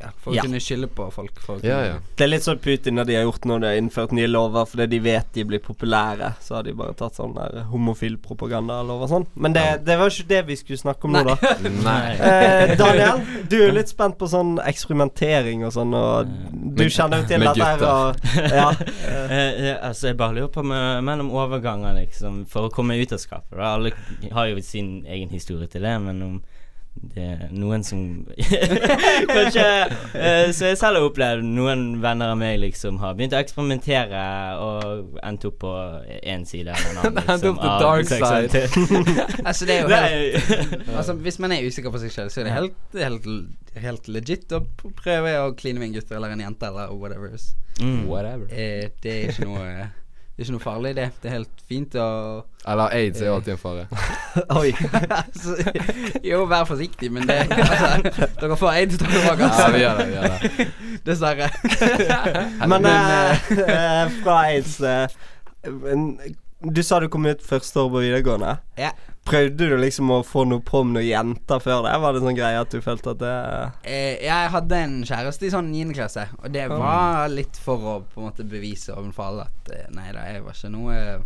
[SPEAKER 4] ja, For å
[SPEAKER 1] Ja.
[SPEAKER 4] kunne skylde på folk. For å
[SPEAKER 2] ja,
[SPEAKER 4] kunne-
[SPEAKER 2] ja.
[SPEAKER 1] Det er litt sånn Putin når de har gjort når de har innført nye lover fordi de vet de blir populære. Så har de bare tatt sånn der homofil propagandalov og sånn. Men det, det var ikke det vi skulle snakke om nå, da.
[SPEAKER 2] Nei.
[SPEAKER 1] Eh, Daniel, du er litt spent på sånn eksperimentering og sånn, og du
[SPEAKER 2] Med-
[SPEAKER 1] kjenner jo til
[SPEAKER 2] med
[SPEAKER 1] dette her og Ja.
[SPEAKER 3] Eh, eh, altså, jeg bare lurer på med, mellom overganger, liksom, for å komme ut av skapet. Da. Alle har jo sin egen historie til det, men om det er noen som Kanskje eh, Så jeg selv har opplevd noen venner av meg liksom har begynt å eksperimentere og endt opp på én side eller en annen. liksom,
[SPEAKER 2] Endt opp the
[SPEAKER 3] av
[SPEAKER 2] dark side.
[SPEAKER 3] seksualitet.
[SPEAKER 4] Altså, det er jo helt
[SPEAKER 3] Nei.
[SPEAKER 4] Altså, Hvis man er usikker på seg selv, så er det helt, det er helt, helt legit å prøve å kline med en gutt eller en jente eller whatever.
[SPEAKER 3] Mm.
[SPEAKER 2] Whatever.
[SPEAKER 4] Eh, det, er ikke noe, det er ikke noe farlig, det. Det er helt fint å
[SPEAKER 2] Eller aids er jo alltid en fare.
[SPEAKER 1] Eh, Oi.
[SPEAKER 4] altså, Jo, vær forsiktig, men det altså, Dere får aids, dere òg,
[SPEAKER 2] Ja, vi
[SPEAKER 4] altså.
[SPEAKER 2] gjør det. Vi gjør det.
[SPEAKER 4] Dessverre.
[SPEAKER 1] Men eh, eh, fra aids eh, en- Du sa du kom ut første år på videregående.
[SPEAKER 4] Ja.
[SPEAKER 1] Prøvde du liksom å få noe prom noen jenter før det? Var det sånn greie at du følte at det
[SPEAKER 4] Eh, jeg hadde en kjæreste i sånn 9. klasse, og det var litt for å på en måte bevise overfor alle at eh, nei da, jeg var ikke noe eh,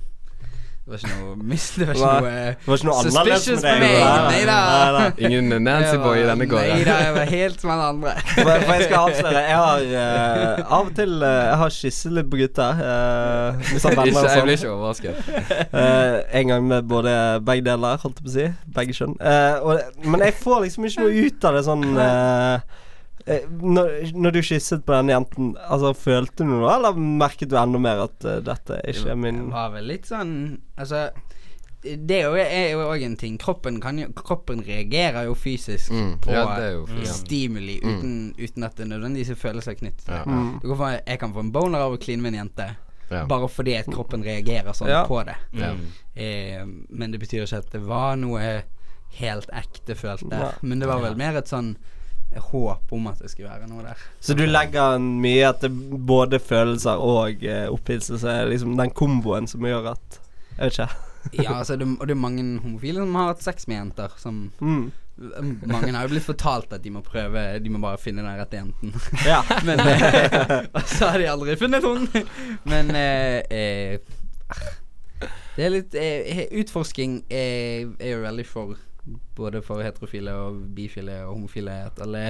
[SPEAKER 4] Det var ikke noe mis... Det var ikke
[SPEAKER 1] Hva?
[SPEAKER 4] noe eh,
[SPEAKER 1] Det var ikke noe annerledes
[SPEAKER 4] Suspicious
[SPEAKER 1] med deg?
[SPEAKER 4] med meg.
[SPEAKER 1] Nei,
[SPEAKER 4] Neida.
[SPEAKER 1] nei, nei.
[SPEAKER 2] Ingen Nancy Boy i denne gården.
[SPEAKER 4] Nei da, jeg var helt som alle andre.
[SPEAKER 1] For, for jeg skal avsløre Jeg har eh, av og til eh, Jeg har kysset litt på gutter. eh, med sånne venner
[SPEAKER 2] ikke,
[SPEAKER 1] og
[SPEAKER 2] jeg blir
[SPEAKER 1] sånn.
[SPEAKER 2] ikke overrasket.
[SPEAKER 1] Eh, en gang med både begge deler, holdt jeg på å si. Begge kjønn. Eh, og, men jeg får liksom ikke noe ut av det sånn eh, eh, når, når du kysset på den jenten, Altså følte du noe, eller merket du enda mer at eh, dette er ikke er min
[SPEAKER 4] Det var vel litt sånn Altså det er jo- er jo òg en ting. Kroppen, kan jo, kroppen reagerer jo fysisk
[SPEAKER 2] Mm,
[SPEAKER 4] på
[SPEAKER 2] ja, det er jo fint. Mm.
[SPEAKER 4] stimuli uten, uten at det nødvendigvis er følelser knyttet til
[SPEAKER 2] Ja.
[SPEAKER 4] det.
[SPEAKER 1] Mm.
[SPEAKER 4] Du kan få, jeg kan få en boner av å kline med en jente,
[SPEAKER 2] Ja.
[SPEAKER 4] bare fordi at kroppen reagerer sånn
[SPEAKER 1] Ja.
[SPEAKER 4] på det.
[SPEAKER 2] Ja.
[SPEAKER 1] Mm.
[SPEAKER 4] Eh, men det betyr ikke at det var noe helt ekte følt der.
[SPEAKER 1] Ja.
[SPEAKER 4] Men det var vel mer et sånn håp om at det skulle være noe der.
[SPEAKER 1] Så du legger en mye at det både følelser og eh, opphisselse, liksom den komboen som gjør at Jeg vet ikke.
[SPEAKER 4] Ja, altså, det, og det er mange homofile som har hatt sex med jenter. Som
[SPEAKER 1] Mm.
[SPEAKER 4] Mange har jo blitt fortalt at de må prøve De må bare finne den rette jenten.
[SPEAKER 1] Ja.
[SPEAKER 4] Men eh, Og så har de aldri funnet henne. Men eh, eh, ah, Det er litt eh, he- Utforsking eh, er jo veldig for både for heterofile og bifile og homofile. At alle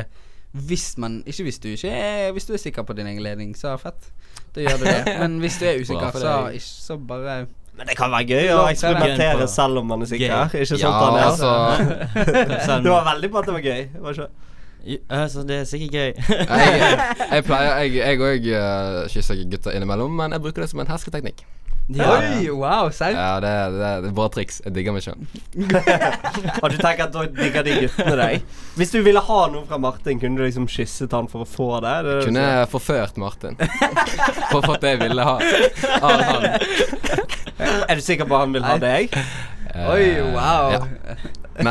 [SPEAKER 4] Hvis man Ikke hvis du ikke er, hvis du er sikker på din egen ledning, så fett. Da gjør du det. Men hvis du er
[SPEAKER 2] Bra
[SPEAKER 4] usikker,
[SPEAKER 2] for
[SPEAKER 4] så,
[SPEAKER 2] deg.
[SPEAKER 4] ikke, så bare
[SPEAKER 1] Men det kan være gøy å
[SPEAKER 4] Lov til det.
[SPEAKER 1] eksperimentere selv om man er sikker. Ikke sånn, sant,
[SPEAKER 2] Ja,
[SPEAKER 1] Daniel?
[SPEAKER 3] Mm.
[SPEAKER 2] altså
[SPEAKER 3] Selv om-
[SPEAKER 1] Det var veldig på at det var gøy. Var ikke? det?
[SPEAKER 3] Ja, Sånn, altså, det er sikkert gøy.
[SPEAKER 2] Jeg, jeg pleier Jeg- jeg òg kysser gutter innimellom, men jeg bruker det som en hersketeknikk.
[SPEAKER 3] Ja.
[SPEAKER 4] Oi, wow, serr?
[SPEAKER 2] Ja, det, det, det er bra triks. Jeg digger meg sjøl.
[SPEAKER 1] Og du tenker at da digger de guttene deg? Hvis du ville ha noe fra Martin, kunne du liksom kysset han for å få det? det, er det du
[SPEAKER 2] Kunne
[SPEAKER 1] sier.
[SPEAKER 2] forført Martin. For å få det jeg ville ha av han.
[SPEAKER 1] Er du sikker på at han vil ha deg?
[SPEAKER 2] Eh,
[SPEAKER 4] Oi, wow.
[SPEAKER 2] ja.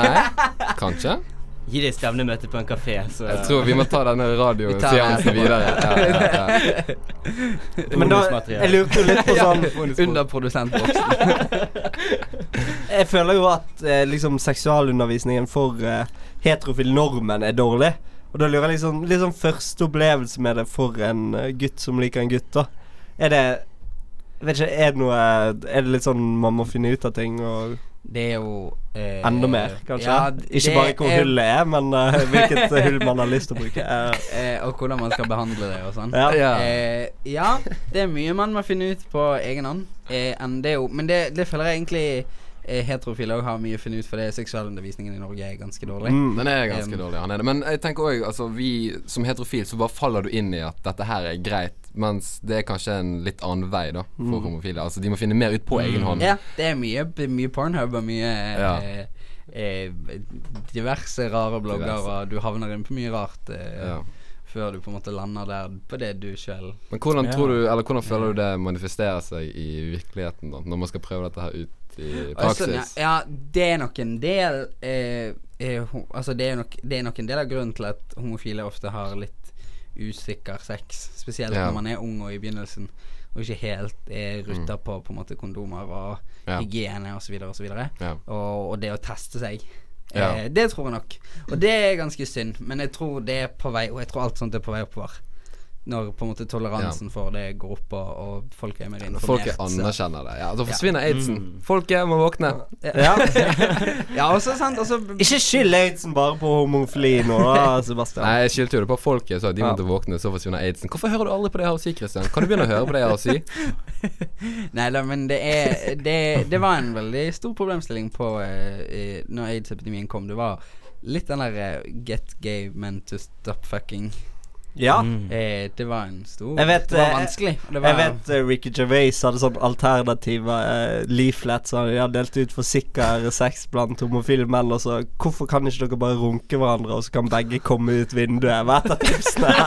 [SPEAKER 2] Nei, kanskje.
[SPEAKER 3] Gi deg et stevnemøte på en kafé, så
[SPEAKER 2] Jeg tror vi må ta denne
[SPEAKER 4] Vi tar
[SPEAKER 2] radioseansen
[SPEAKER 4] det.
[SPEAKER 2] videre. Ja, ja, ja.
[SPEAKER 1] Men da, jeg lurte jo litt på sånn
[SPEAKER 4] Under produsentboksen.
[SPEAKER 1] Jeg føler jo at eh, liksom seksualundervisningen for eh, heterofile nordmenn er dårlig. Og da lurer jeg liksom Litt sånn første opplevelse med det for en eh, gutt som liker en gutt, da. Er det jeg vet ikke, er det noe Er det litt sånn man må finne ut av ting og
[SPEAKER 4] Det er jo eh,
[SPEAKER 1] Enda mer, kanskje?
[SPEAKER 4] ja, d-
[SPEAKER 1] ikke
[SPEAKER 4] det
[SPEAKER 1] bare hvor
[SPEAKER 4] er-
[SPEAKER 1] hullet er, men eh, hvilket eh, hull man har lyst til å bruke. Eh,
[SPEAKER 4] eh, Og hvordan man skal behandle det og sånn.
[SPEAKER 1] ja.
[SPEAKER 2] Ja.
[SPEAKER 4] Eh, ja, det er mye man må finne ut på egen hånd. Eh, enn det er jo, men det, det føler jeg egentlig eh, heterofile òg har mye å finne ut, for det seksualundervisningen i Norge er ganske dårlig.
[SPEAKER 1] Mm.
[SPEAKER 2] Den er ganske
[SPEAKER 4] Um,
[SPEAKER 2] dårlig. Han er det. Men jeg tenker òg altså, vi som heterofil så bare faller du inn i at dette her er greit, mens det er kanskje en litt annen vei da for homofile. Altså De må finne mer ut på egen hånd.
[SPEAKER 4] Ja, det er mye, b- mye Pornhub og mye
[SPEAKER 2] Ja.
[SPEAKER 4] eh, eh, diverse rare blogger,
[SPEAKER 2] Diverse.
[SPEAKER 4] og du havner inn på mye rart eh,
[SPEAKER 2] Ja.
[SPEAKER 4] før du på en måte lander der på det du sjøl
[SPEAKER 2] Men hvordan
[SPEAKER 3] Ja.
[SPEAKER 2] tror du Eller hvordan føler du det manifesterer seg i virkeligheten, da når man skal prøve dette her ut i
[SPEAKER 4] Altså,
[SPEAKER 2] praksis?
[SPEAKER 4] ja, ja, det er nok en del eh, eh, ho- Altså, det er, nok, det er nok en del av grunnen til at homofile ofte har litt usikker sex. Spesielt
[SPEAKER 2] Ja. Mm.
[SPEAKER 4] når man er ung og i begynnelsen, og ikke helt er rutta på på en måte kondomer og
[SPEAKER 2] Ja.
[SPEAKER 4] hygiene osv. Og, så videre
[SPEAKER 2] Ja.
[SPEAKER 4] og, og det å teste seg.
[SPEAKER 2] Ja.
[SPEAKER 4] Eh, det tror jeg nok. Og det er ganske synd, men jeg tror det er på vei Og jeg tror alt sånt er på vei oppover. Når på en måte toleransen for det går opp, og, og folk er mer
[SPEAKER 2] Når
[SPEAKER 4] informert.
[SPEAKER 2] folket
[SPEAKER 4] så-
[SPEAKER 2] anerkjenner det. Ja, Da forsvinner aidsen. Folket må våkne.
[SPEAKER 1] Ja.
[SPEAKER 4] Ja, og så sant. Og så
[SPEAKER 1] Ikke skyld aidsen bare på homofili nå, da, Sebastian.
[SPEAKER 2] Nei, jeg skyldte jo det på folket. Så de
[SPEAKER 1] Ja.
[SPEAKER 2] måtte våkne, så forsvinner aidsen. Hvorfor hører du aldri på det jeg har å si, Christian? Kan du begynne å høre på det jeg har å si?
[SPEAKER 4] Nei da, men det er det, det var en veldig stor problemstilling på eh, eh, Når aids-epidemien kom. Det var litt den der eh, 'get gay men to stop fucking'.
[SPEAKER 1] Ja.
[SPEAKER 3] Mm.
[SPEAKER 4] Eh, det var en stor
[SPEAKER 1] Jeg vet,
[SPEAKER 4] Det var
[SPEAKER 1] eh,
[SPEAKER 4] vanskelig. og Det var,
[SPEAKER 1] Jeg vet eh, Ricky Gervais hadde sånn alternative eh, leaflets han hadde delt ut for sikker sex blant homofile menn. Og så Hvorfor kan ikke dere bare runke hverandre, og så kan begge komme ut vinduet? Hva er et av tipsene? her?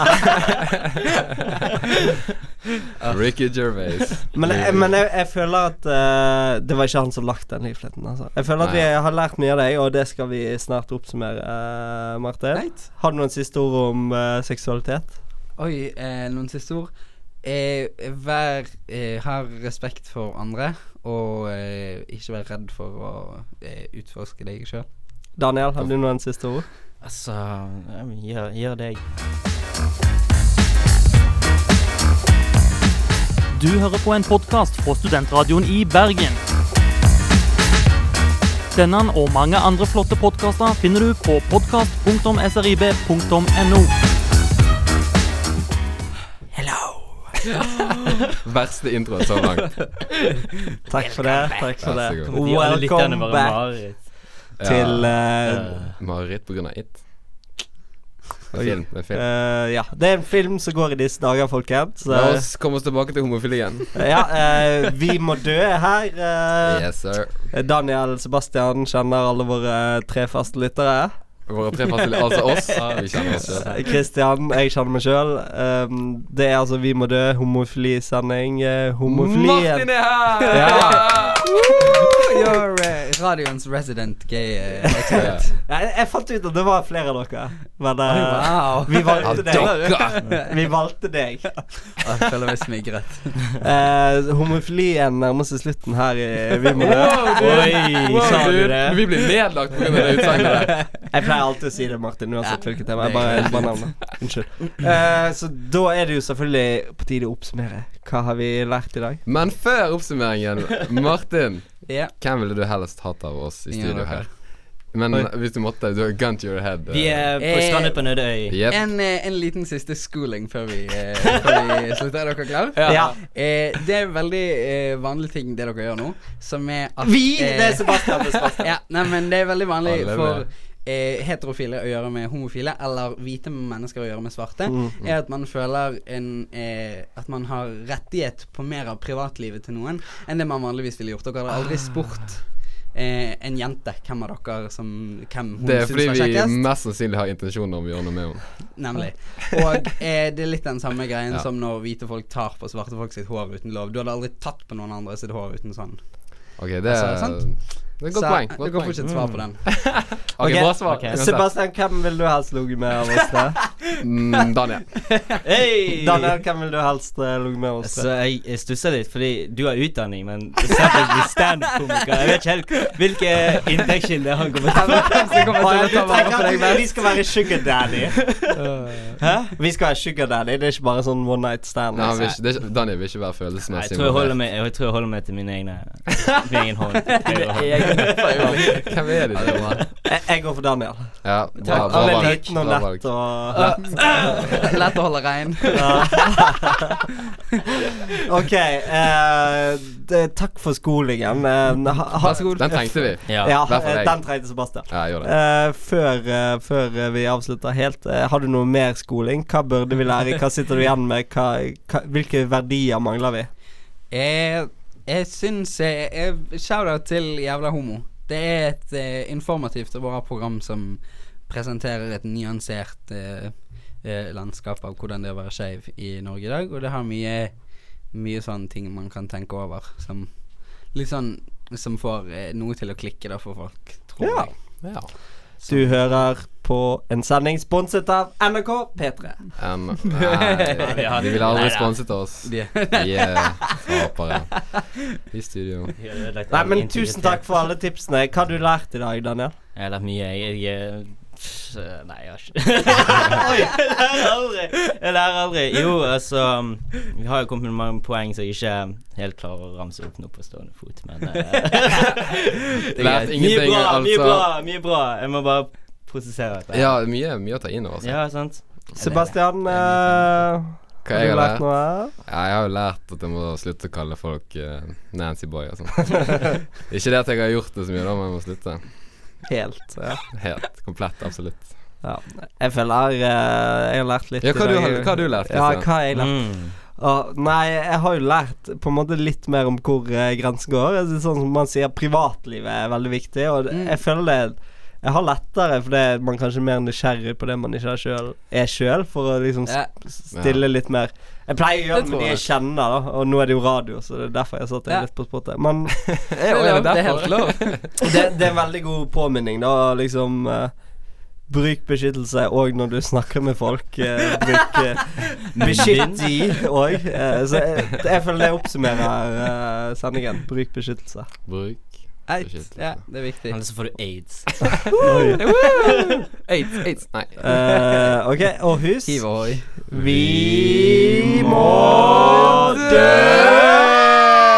[SPEAKER 2] Ricky Gervais.
[SPEAKER 1] men jeg, men jeg, jeg føler at eh, Det var ikke han som lagt den leafleten, altså. Jeg føler at vi
[SPEAKER 2] Nei.
[SPEAKER 1] har lært mye av deg, og det skal vi snart oppsummere, eh, Martin.
[SPEAKER 4] Right.
[SPEAKER 1] Har du noen siste ord om eh, seksualitet?
[SPEAKER 4] Oi, eh, noen siste ord. Eh, vær eh, Har respekt for andre, og eh, ikke vær redd for å eh, utforske deg sjøl.
[SPEAKER 1] Daniel, har du noen siste ord?
[SPEAKER 3] Altså, ja, men gjør, gjør det jeg
[SPEAKER 7] Du hører på en podkast fra Studentradioen i Bergen. Denne og mange andre flotte podkaster finner du på podkast.srib.no.
[SPEAKER 2] Verste introen så langt.
[SPEAKER 1] Takk for det. Takk for
[SPEAKER 2] Vær så
[SPEAKER 1] det.
[SPEAKER 2] god.
[SPEAKER 3] De alle lytterne
[SPEAKER 1] Welcome
[SPEAKER 3] bare
[SPEAKER 1] back
[SPEAKER 3] mareritt.
[SPEAKER 1] til
[SPEAKER 2] ja.
[SPEAKER 1] eh,
[SPEAKER 3] Eh,
[SPEAKER 2] Mareritt på grunn av it. Det
[SPEAKER 1] Oi.
[SPEAKER 2] er film. Det er film.
[SPEAKER 1] Eh, ja, det er en film som går i disse dager, folkens.
[SPEAKER 2] La
[SPEAKER 1] Eh,
[SPEAKER 2] oss komme oss tilbake til homofilien.
[SPEAKER 1] ja, eh, vi må dø er her. eh.
[SPEAKER 2] Yes, sir.
[SPEAKER 1] Daniel Sebastian kjenner alle våre tre faste lyttere.
[SPEAKER 2] Våre tre faste Altså oss. Vi kjenner oss selv.
[SPEAKER 1] Eh, Christian, jeg kjenner meg sjøl. det er altså Vi må dø, homofilisending. Uh, eh, homofilien.
[SPEAKER 2] Martin er her!
[SPEAKER 1] Ja.
[SPEAKER 2] Woo!
[SPEAKER 4] you're eh, radioens resident gay eh,
[SPEAKER 2] Ja.
[SPEAKER 4] expert.
[SPEAKER 1] Nei, jeg fant ut at det var flere av dere, men eh,
[SPEAKER 4] Wow.
[SPEAKER 1] vi
[SPEAKER 2] Ja,
[SPEAKER 1] valgte deg.
[SPEAKER 2] dere!
[SPEAKER 1] Vi valgte deg.
[SPEAKER 4] Å, Jeg føler meg smigret.
[SPEAKER 1] Eh, homofilien nærmer seg slutten her i Vi må dø.
[SPEAKER 3] Oi, sa du
[SPEAKER 2] dude.
[SPEAKER 3] det?
[SPEAKER 2] Vi blir nedlagt pga. det utsagnet der.
[SPEAKER 1] Jeg pleier alltid å si det, Martin, uansett hvilket tema. Jeg bare, jeg bare navnet. Unnskyld. Eh, så da er det jo selvfølgelig på tide å oppsummere. Hva har vi lært i dag?
[SPEAKER 2] Men før oppsummeringen, Martin.
[SPEAKER 4] Ja.
[SPEAKER 2] Hvem ville du helst hatt av oss i
[SPEAKER 4] Ingen
[SPEAKER 2] studio
[SPEAKER 4] av dere.
[SPEAKER 2] her? Men hvis du måtte, du har gun to your head.
[SPEAKER 3] Vi er på
[SPEAKER 4] Eh,
[SPEAKER 3] strandet på Nødøy.
[SPEAKER 2] Jepp.
[SPEAKER 4] En, eh, en liten siste schooling før vi, eh, før vi slutter. Er dere klare?
[SPEAKER 1] Ja.
[SPEAKER 4] Eh, det er en veldig eh, vanlig ting det dere gjør nå, som er at
[SPEAKER 1] Vi!
[SPEAKER 4] eh,
[SPEAKER 1] Det er Sebastian. Det er Sebastian.
[SPEAKER 4] ja, nei, men det er veldig vanlig
[SPEAKER 2] Alle med.
[SPEAKER 4] for eh, heterofile å gjøre med homofile, eller hvite mennesker å gjøre med svarte,
[SPEAKER 1] Mm,
[SPEAKER 2] mm.
[SPEAKER 4] er at man føler en eh, At man har rettighet på mer av privatlivet til noen enn det man vanligvis ville gjort. Dere har
[SPEAKER 2] Ah.
[SPEAKER 4] aldri spurt eh, en jente hvem av dere som Hvem hun
[SPEAKER 2] Det er
[SPEAKER 4] syns
[SPEAKER 2] fordi
[SPEAKER 4] var
[SPEAKER 2] vi
[SPEAKER 4] kjekkest.
[SPEAKER 2] mest sannsynlig har intensjoner om å gjøre noe med henne.
[SPEAKER 4] Nemlig. Og eh, det er litt den samme greien
[SPEAKER 2] Ja.
[SPEAKER 4] som når hvite folk tar på svarte folk sitt hår uten lov. Du hadde aldri tatt på noen andre sitt hår uten sånn.
[SPEAKER 2] Ok, det er,
[SPEAKER 4] Altså, sant?
[SPEAKER 2] det er et godt
[SPEAKER 4] Så
[SPEAKER 2] poeng.
[SPEAKER 4] det
[SPEAKER 2] Godt
[SPEAKER 4] går
[SPEAKER 2] poeng.
[SPEAKER 4] fortsatt svar på den.
[SPEAKER 1] Ok,
[SPEAKER 2] Ok, bra svar.
[SPEAKER 3] ok.
[SPEAKER 2] uansett.
[SPEAKER 1] Sebastian, hvem vil du helst ligge med av oss? da?
[SPEAKER 2] Mm, Daniel.
[SPEAKER 3] Hey!
[SPEAKER 1] Daniel, hvem vil du helst eh, ligge med av oss?
[SPEAKER 3] Så
[SPEAKER 1] da?
[SPEAKER 3] jeg, jeg stusser litt, fordi du har utdanning, men selvfølgelig standup-komiker. Jeg vet ikke helt hvilke inntektskilder han kommer til å
[SPEAKER 1] Å, ja, du tenker at vi- Vi skal være sugar daddy. Hæ? Vi skal være sugar daddy. Det er ikke bare sånn one night stand.
[SPEAKER 2] Nei, han vil
[SPEAKER 1] liksom.
[SPEAKER 2] ikke, det er ikke, Daniel vil ikke være
[SPEAKER 3] Nei,
[SPEAKER 2] følelsesmessig.
[SPEAKER 3] jeg tror jeg holder meg, jeg tror jeg holder meg til mine egne Min egen hånd. Høyre hånd.
[SPEAKER 2] involvert. Hvem er de? der?
[SPEAKER 1] Jeg, jeg går for Daniel.
[SPEAKER 2] Ja, bra, bra
[SPEAKER 1] Han er
[SPEAKER 2] valg.
[SPEAKER 1] liten og
[SPEAKER 2] Bra
[SPEAKER 1] lett
[SPEAKER 2] valg.
[SPEAKER 1] og
[SPEAKER 4] Lett å holde rein.
[SPEAKER 1] Ok, eh, det, takk for skolingen. Eh, ha, ha,
[SPEAKER 2] Den tenkte vi.
[SPEAKER 3] Ja.
[SPEAKER 1] Ja,
[SPEAKER 2] hvert fall
[SPEAKER 1] eh,
[SPEAKER 2] jeg.
[SPEAKER 1] den trengte Sebastian.
[SPEAKER 2] Ja, jeg gjorde det.
[SPEAKER 1] Eh, før, eh, før eh, vi avslutter helt, eh, har du noe mer skoling? Hva burde vi lære? Hva sitter du igjen med? Hva, hva, hvilke verdier mangler vi?
[SPEAKER 4] Jeg, Eh, jeg syns jeg, jeg Shout-out til Jævla homo. Det er et eh, informativt og bra program som presenterer et nyansert eh, eh, landskap av hvordan det er å være skeiv i Norge i dag, og det har mye Mye sånne ting man kan tenke over som Litt sånn som får eh, noe til å klikke da for folk, tror
[SPEAKER 1] Ja.
[SPEAKER 4] jeg.
[SPEAKER 2] Ja.
[SPEAKER 1] Du hører på en sending sponset av NRK P3.
[SPEAKER 2] Um, nei, de ville aldri
[SPEAKER 3] Neida.
[SPEAKER 2] sponset oss.
[SPEAKER 4] De-
[SPEAKER 2] Vi er tapere i studio.
[SPEAKER 3] Jeg har ødelagt
[SPEAKER 1] Nei,
[SPEAKER 3] all
[SPEAKER 1] men
[SPEAKER 3] integritet.
[SPEAKER 1] tusen takk for alle tipsene. Hva har du lært i dag, Daniel?
[SPEAKER 3] Jeg har lært mye. Jeg, jeg pff, Nei, jeg har ikke Oi, Jeg lærer aldri. Jeg lærer aldri. Jo, altså Vi har jo kommet med mange poeng som jeg ikke helt klarer å ramse opp nå på stående fot, men eh,
[SPEAKER 2] Lært
[SPEAKER 3] Mye
[SPEAKER 2] ingenting,
[SPEAKER 3] bra, mye
[SPEAKER 2] altså.
[SPEAKER 3] bra, mye bra. Jeg må bare prosessere dette.
[SPEAKER 2] Ja, mye, mye å ta inn over seg.
[SPEAKER 3] ja sant?
[SPEAKER 1] Sebastian, eh,
[SPEAKER 2] Hva
[SPEAKER 1] har
[SPEAKER 2] jeg
[SPEAKER 1] du
[SPEAKER 2] har
[SPEAKER 1] lært
[SPEAKER 2] lært?
[SPEAKER 1] noe? her?
[SPEAKER 2] Ja, jeg har jo lært at jeg må slutte å kalle folk eh, Nancy Boy og sånn. Ikke det at jeg har gjort det så mye, da, men jeg må slutte.
[SPEAKER 1] Helt. Ja.
[SPEAKER 2] Helt. Komplett. Absolutt.
[SPEAKER 1] Ja. Jeg føler eh, jeg har lært litt
[SPEAKER 2] Ja, hva
[SPEAKER 1] i
[SPEAKER 2] du
[SPEAKER 1] dag.
[SPEAKER 2] har- hva har du lært,
[SPEAKER 1] Ja,
[SPEAKER 2] Kristian?
[SPEAKER 1] hva har jeg lært?
[SPEAKER 3] Mm.
[SPEAKER 1] Å, nei, jeg har jo lært på en måte litt mer om hvor eh, grensen går. Altså, sånn som man sier, privatlivet er veldig viktig, og
[SPEAKER 4] Mm.
[SPEAKER 1] jeg føler det Jeg har lettere fordi man kanskje er mer nysgjerrig på det man ikke er sjøl, er sjøl, for å liksom s-
[SPEAKER 4] Ja.
[SPEAKER 1] stille litt mer Jeg pleier å gjøre
[SPEAKER 4] Det
[SPEAKER 1] det
[SPEAKER 4] tror
[SPEAKER 1] med de jeg kjenner, da, og nå er det jo radio, så det er derfor jeg satt
[SPEAKER 4] Ja.
[SPEAKER 1] litt på spottet. Men
[SPEAKER 4] Det er, lov, det er helt lov.
[SPEAKER 1] det, det er en veldig god påminning, da. Liksom eh, Bruk beskyttelse òg når du snakker med folk. eh, bruk eh, Beskytt de òg. eh, så jeg, jeg føler det oppsummerer eh, sendingen. Bruk beskyttelse.
[SPEAKER 2] Bruk Beskyttelse.
[SPEAKER 4] Ja, det er viktig.
[SPEAKER 3] Ellers så får du aids.
[SPEAKER 2] Aids, aids. Nei.
[SPEAKER 1] Eh, ok, og husk
[SPEAKER 4] Hiv ohoi.
[SPEAKER 1] Vi må dø!